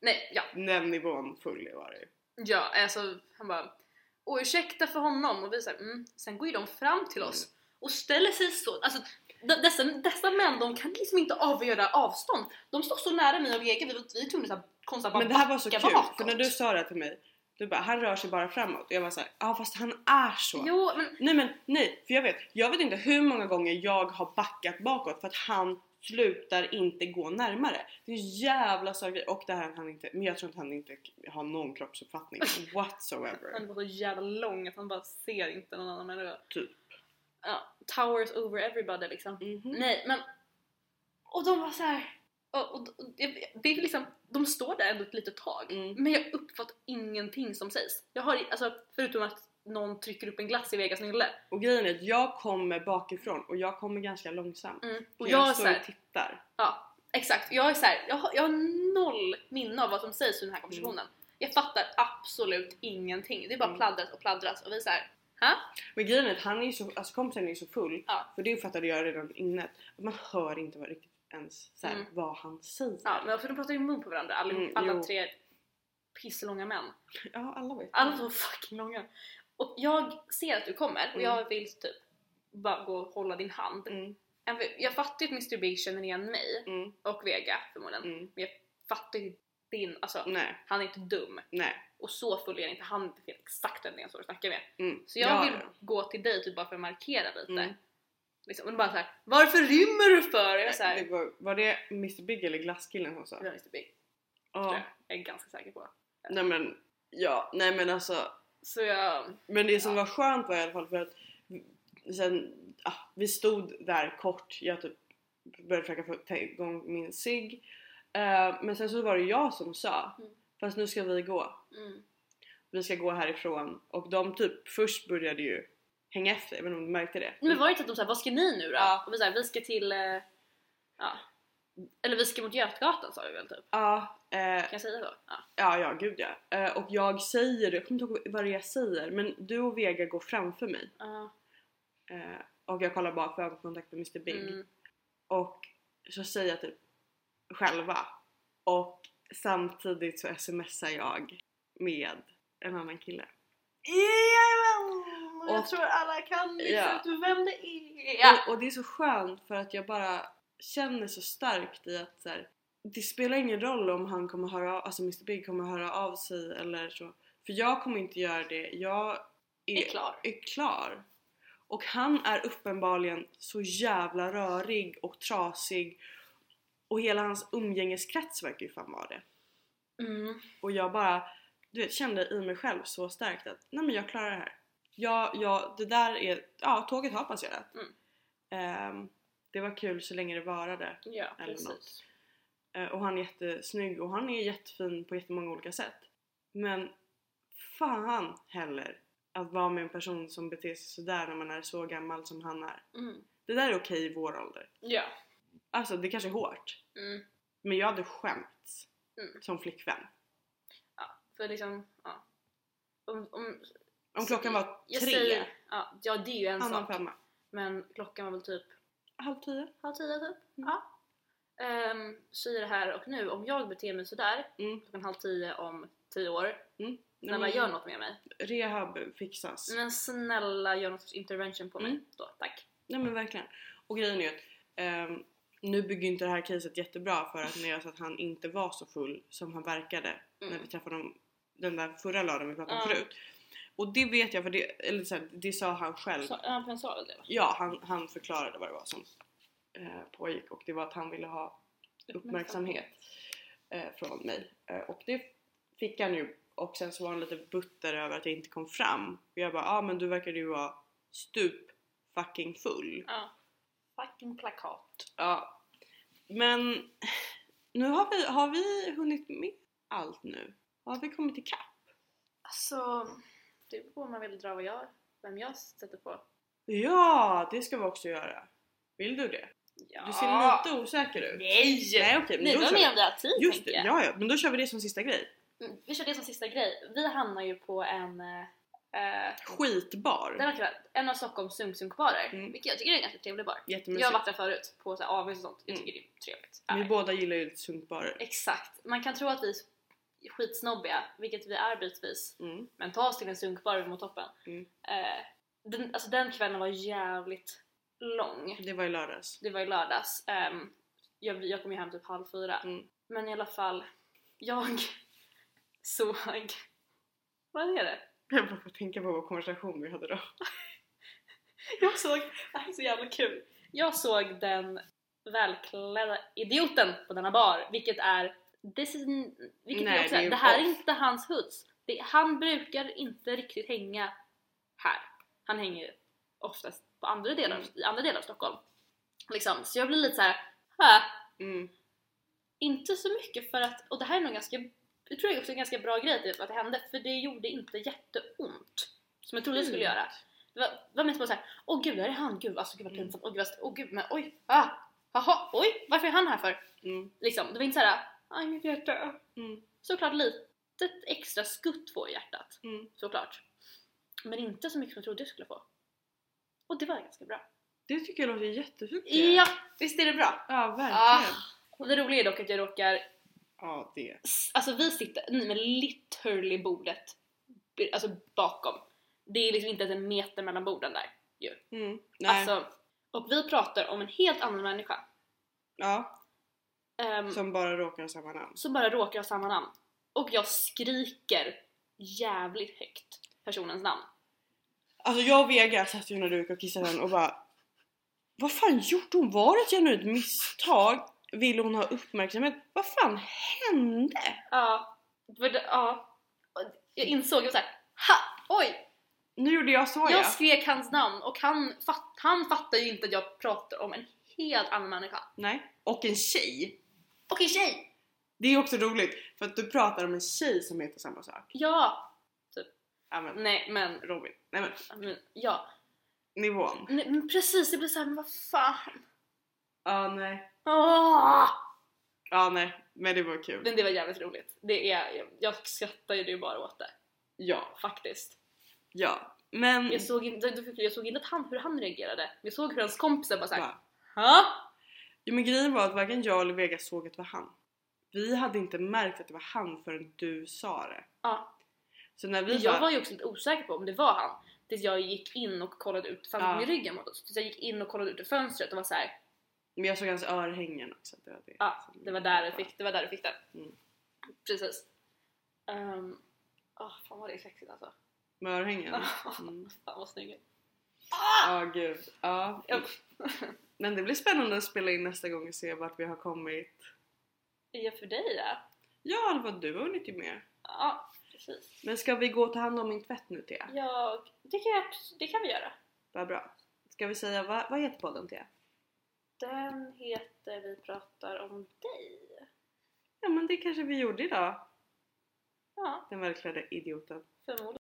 Speaker 2: nej ja,
Speaker 1: Den nivån full var det ju.
Speaker 2: ja, alltså han bara och ursäkta för honom och vi så här, mm. sen går ju de fram till oss
Speaker 1: Mm.
Speaker 2: och ställer sig så, alltså d- dessa, dessa män de kan liksom inte avgöra avstånd. De står så nära mig och Vega, vi, var- vi var tvungna att konstant bara
Speaker 1: Men det här var så kul
Speaker 2: backa
Speaker 1: för när du sa det här till mig, du bara han rör sig bara framåt och jag var såhär ja ah, fast han är så.
Speaker 2: Jo men
Speaker 1: Nej men nej för jag vet, jag vet inte hur många gånger jag har backat bakåt för att han slutar inte gå närmare. Det är ju jävla sorgligt och det här han inte, men jag tror inte han inte har någon kroppsuppfattning whatsoever.
Speaker 2: han var så jävla lång att han bara ser inte någon annan människa.
Speaker 1: Typ.
Speaker 2: Ja, towers over everybody liksom.
Speaker 1: Mhm.
Speaker 2: Nej men... Och de var så här. Och, och, och, jag- det är liksom, de står där ändå ett litet tag
Speaker 1: Mm.
Speaker 2: men jag uppfattar ingenting som sägs. Jag har, i- alltså, förutom att någon trycker upp en glass i Vegas nylle.
Speaker 1: Och grejen är att jag kommer bakifrån och jag kommer ganska långsamt.
Speaker 2: Och
Speaker 1: Så jag,
Speaker 2: jag är så
Speaker 1: står
Speaker 2: här,
Speaker 1: och tittar.
Speaker 2: Ja, exakt. Jag är så här, jag har, jag har noll minne av vad som sägs i den här konversationen. Jag fattar absolut ingenting. Det är bara
Speaker 1: Mm.
Speaker 2: pladdras och pladdras och vi är så här.
Speaker 1: Men grejen är att han är ju så, alltså kompisen är ju så full,
Speaker 2: Ja.
Speaker 1: för det fattade jag redan innan, att man hör inte vad riktigt ens så här,
Speaker 2: Mm.
Speaker 1: vad han säger.
Speaker 2: Ja, men för de pratar ju i mun på varandra allihop,
Speaker 1: Mm,
Speaker 2: alla
Speaker 1: jo.
Speaker 2: tre pisslånga män.
Speaker 1: Ja, alla vet.
Speaker 2: Alla var fucking långa. Och jag ser att du kommer och
Speaker 1: Mm.
Speaker 2: jag vill typ bara gå och hålla din hand.
Speaker 1: Mm,
Speaker 2: Även för- Jag fattar ju att Mr Big känner igen mig
Speaker 1: mm,
Speaker 2: och Vega förmodligen.
Speaker 1: mm.
Speaker 2: Fattar ju din, alltså
Speaker 1: Nej,
Speaker 2: han är inte dum.
Speaker 1: nej.
Speaker 2: Och så full är han inte, han vet exakt vem det är jag står och snackar med.
Speaker 1: Mm.
Speaker 2: Så jag
Speaker 1: Ja,
Speaker 2: vill
Speaker 1: ja.
Speaker 2: gå till dig typ bara för att markera lite.
Speaker 1: Mm.
Speaker 2: Liksom, och bara såhär, varför rymmer du för? Och jag såhär,
Speaker 1: Det var, var det Mr Big eller glasskillen som sa?
Speaker 2: det var Mr Big.
Speaker 1: Ja.
Speaker 2: tror jag. Jag är ganska säker på.
Speaker 1: Nej men, ja, nej men alltså.
Speaker 2: Så jag,
Speaker 1: Men det som
Speaker 2: Ja.
Speaker 1: var skönt var i alla fall för att sen, ah, vi stod där kort, jag typ började försöka få ta igång min cigg. Eh, men sen så var det jag som sa,
Speaker 2: Mm.
Speaker 1: fast nu ska vi gå.
Speaker 2: mm,
Speaker 1: vi ska gå härifrån och de typ först började ju hänga efter, jag vet inte om du märkte det?
Speaker 2: Men var det inte att de sa vad ska ni nu då?
Speaker 1: Ja.
Speaker 2: Och vi sa vi ska till, eh, ja. Eller vi ska mot Götgatan sa vi väl typ?
Speaker 1: Ja, eh,
Speaker 2: Kan jag säga så? Ja.
Speaker 1: ja, ja gud ja. Eh, och jag säger, jag kommer inte ihåg vad det är jag säger, men du och Vega går framför mig
Speaker 2: Ja.
Speaker 1: eh, och jag kollar bara för ögonkontakt med Mr Big
Speaker 2: Mm.
Speaker 1: och så säger jag typ själva och samtidigt så smsar jag med en annan kille.
Speaker 2: Jajamän!
Speaker 1: jag
Speaker 2: tror alla kan
Speaker 1: liksom
Speaker 2: vem det är. Ja.
Speaker 1: Och, och det är så skönt för att jag bara känner så starkt i att så här, det spelar ingen roll om han kommer höra av, alltså Mr Big kommer höra av sig eller så. För jag kommer inte göra det. Jag är,
Speaker 2: Är klar.
Speaker 1: är klar. Och han är uppenbarligen så jävla rörig och trasig och hela hans umgängeskrets verkar ju fan vara det.
Speaker 2: Mm.
Speaker 1: Och jag bara du vet, kände i mig själv så starkt att nej men jag klarar det här. Ja, ja, det där är, ja tåget har passerat.
Speaker 2: Mm.
Speaker 1: Ehm, det var kul så länge det varade.
Speaker 2: Ja,
Speaker 1: Eller
Speaker 2: precis.
Speaker 1: något. Eh, Och han är jättesnygg och han är jättefin på jättemånga olika sätt. Men fan heller att vara med en person som beter sig sådär när man är så gammal som han är.
Speaker 2: Mm.
Speaker 1: Det där är okej i vår ålder.
Speaker 2: Ja.
Speaker 1: Alltså det kanske är hårt.
Speaker 2: Mm.
Speaker 1: Men jag hade skämts
Speaker 2: Mm.
Speaker 1: som flickvän.
Speaker 2: ja. För liksom, ja. Om, om,
Speaker 1: Om klockan var
Speaker 2: jag
Speaker 1: tre,
Speaker 2: säger- ja, ja, det är ju en
Speaker 1: annan
Speaker 2: sak.
Speaker 1: femma.
Speaker 2: Men klockan var väl typ
Speaker 1: Halv tio.
Speaker 2: halv tio typ.
Speaker 1: Mm.
Speaker 2: Ja. Um, så i det här och nu, om jag beter mig sådär
Speaker 1: Mm.
Speaker 2: klockan halv tio om tio år,
Speaker 1: Nej,
Speaker 2: snälla
Speaker 1: men
Speaker 2: gör något Mm. med mig.
Speaker 1: Rehab fixas.
Speaker 2: Men snälla gör någon sorts intervention på mig
Speaker 1: Mm.
Speaker 2: då, tack.
Speaker 1: Nej men verkligen. Och grejen är ju att ehm, nu bygger inte det här caset jättebra för att när jag sa att han inte var så full som han verkade när vi träffade honom den där förra lördagen vi pratade om
Speaker 2: Mm. Ja.
Speaker 1: förut. Och det vet jag för det, eller så här, det sa han själv.
Speaker 2: Så, ja, men sa väl det va?
Speaker 1: Ja, han, han förklarade vad det var som eh, pågick och det var att han ville ha uppmärksamhet eh, från mig. Eh, och det fick han ju och sen så var han lite butter över att jag inte kom fram. Och jag bara, ja ah, men du verkar ju vara stup fucking full.
Speaker 2: Ja. Fucking plakat.
Speaker 1: Ja. Men nu har vi, har vi hunnit med allt nu? Har vi kommit ikapp?
Speaker 2: Alltså, det beror på om man vill dra vad jag, vem jag sätter på.
Speaker 1: Ja, det ska vi också göra. Vill du det?
Speaker 2: Ja.
Speaker 1: Du ser lite osäker ut.
Speaker 2: Nej!
Speaker 1: Nej okej,
Speaker 2: Vi
Speaker 1: men då
Speaker 2: var
Speaker 1: kör
Speaker 2: med
Speaker 1: vi.
Speaker 2: om det här tid
Speaker 1: Just det,
Speaker 2: tänker jag.
Speaker 1: ja, ja, men då kör vi det som sista grej.
Speaker 2: Mm, Vi kör det som sista grej. Vi hamnar ju på en eh, eh, Den
Speaker 1: Skitbar.
Speaker 2: var kul. En av Stockholms sumsumkvarer,
Speaker 1: Mm.
Speaker 2: vilket jag tycker är en ganska trevlig bar. Jag
Speaker 1: Jättemysigt.
Speaker 2: har varit där förut på så här AWs och sånt. Jag
Speaker 1: Mm.
Speaker 2: tycker det är trevligt.
Speaker 1: Vi
Speaker 2: Ja.
Speaker 1: båda gillar ju lite sunkbarer.
Speaker 2: Exakt. Man kan tro att vi är skitsnobbiga, vilket vi är bitvis.
Speaker 1: Mm.
Speaker 2: Men ta oss till en sunkbar mot toppen.
Speaker 1: Mm.
Speaker 2: Eh, den, alltså den kvällen var jävligt lång.
Speaker 1: Det var i lördags.
Speaker 2: Det var i lördags. Ehm, jag, jag kom ju hem typ halv fyra.
Speaker 1: Mm.
Speaker 2: Men i alla fall, jag såg... Vad är det?
Speaker 1: Jag bara får tänka på vår konversation vi hade då.
Speaker 2: Jag såg, det här är så jävla kul. Jag såg den välklädda idioten på denna bar, vilket är, this is, n- vilket
Speaker 1: Nej,
Speaker 2: är också,
Speaker 1: det är
Speaker 2: det,
Speaker 1: ju
Speaker 2: det här är
Speaker 1: off.
Speaker 2: inte hans hoods. Det, han brukar inte riktigt hänga här. Han hänger oftast på andra delar,
Speaker 1: Mm.
Speaker 2: i andra delar av Stockholm. Liksom. Så jag blir lite så här, "Hä?"
Speaker 1: Mm.
Speaker 2: inte så mycket för att, och det här är nog ganska, jag tror jag också är en ganska bra grej typ, att det hände, för det gjorde inte jätteont. Som jag trodde det skulle
Speaker 1: Mm.
Speaker 2: göra. Det var, det var mest bara såhär, åh gud där är han, gud alltså gud vad pinsamt, åh gud, vad- åh gud men oj, ah, jaha, oj, varför är han här för?
Speaker 1: Mm.
Speaker 2: Liksom, det var inte såhär, aj mitt hjärta.
Speaker 1: Mm.
Speaker 2: Såklart litet extra skutt får hjärtat,
Speaker 1: Mm.
Speaker 2: såklart. Men inte så mycket som jag trodde jag skulle få. Och det var ganska bra.
Speaker 1: Det tycker jag låter jättefint.
Speaker 2: Ja, visst är det bra?
Speaker 1: ja verkligen.
Speaker 2: Ah. Och det roliga är dock att jag råkar
Speaker 1: Ja, det.
Speaker 2: S- alltså vi sitter nej, men literally bordet b- alltså bakom. Det är liksom inte ens en meter mellan borden där.
Speaker 1: Mm. Nej.
Speaker 2: Alltså, och vi pratar om en helt annan människa
Speaker 1: ja,
Speaker 2: ehm,
Speaker 1: som bara råkar ha samma namn.
Speaker 2: som bara råkar ha samma namn. Och jag skriker jävligt högt personens namn.
Speaker 1: Alltså jag och Vega satt ju när du gick och kissade den och bara Vad fan gjorde hon? Var det ett genuint misstag? Vill hon ha uppmärksamhet? Vad fan hände?
Speaker 2: Ja, för det- ja. Och Jag insåg, jag var såhär ha! Oj!
Speaker 1: Nu gjorde jag så ja.
Speaker 2: Jag skrek hans namn och han, fatt, han fattar ju inte att jag pratar om en helt annan människa.
Speaker 1: Nej. Och en tjej.
Speaker 2: Och en tjej!
Speaker 1: Det är också roligt för att du pratar om en tjej som heter samma sak.
Speaker 2: Ja!
Speaker 1: Ja men
Speaker 2: Nej men,
Speaker 1: Robin. Nej men
Speaker 2: men ja.
Speaker 1: nivån.
Speaker 2: Nej, men precis, det blir såhär, men vad fan.
Speaker 1: Ja nej.
Speaker 2: Åh!
Speaker 1: Ja nej. Men det var kul.
Speaker 2: Men det var jävligt roligt. Det är, jag, jag skrattar ju det ju bara åt det,
Speaker 1: Ja.
Speaker 2: faktiskt.
Speaker 1: Ja. Men.
Speaker 2: Jag såg inte, du fick- jag såg inte att han, hur han reagerade, men jag såg hur hans kompisar bara såhär
Speaker 1: Va?
Speaker 2: Hä?
Speaker 1: Ja, men grejen var att varken jag eller Vega såg att det var han. Vi hade inte märkt att det var han förrän du sa det.
Speaker 2: Ja.
Speaker 1: Så när vi
Speaker 2: Men jag
Speaker 1: bara-
Speaker 2: var ju också lite osäker på om det var han. Tills jag gick in och kollade ut, för han
Speaker 1: Ja.
Speaker 2: ja. med ryggen mot oss. Tills jag gick in och kollade ut ur fönstret och var såhär,
Speaker 1: Men jag såg hans örhängen också. Det var, det.
Speaker 2: ja det var där du fick, det var där du fick den.
Speaker 1: Mm.
Speaker 2: Precis. Um, fan vad det är sexigt alltså.
Speaker 1: Med örhängen? Ja, Mm.
Speaker 2: Mm. fan vad snygg.
Speaker 1: gud. Ja.
Speaker 2: Ah! Ja.
Speaker 1: Men det blir spännande att spela in nästa gång och se vart vi har kommit.
Speaker 2: Ja för dig ja.
Speaker 1: Ja, eller vad du har hunnit ju med.
Speaker 2: Ja, precis.
Speaker 1: Men ska vi gå och ta hand om min tvätt nu Thea?
Speaker 2: Jag, det, kan jag, abs- det kan vi göra.
Speaker 1: Vad bra. Ska vi säga, vad, vad heter podden Thea?
Speaker 2: Den heter Vi pratar om dig.
Speaker 1: Ja men det kanske vi gjorde idag.
Speaker 2: Ja,
Speaker 1: Den välklädda idioten.
Speaker 2: förmodligen.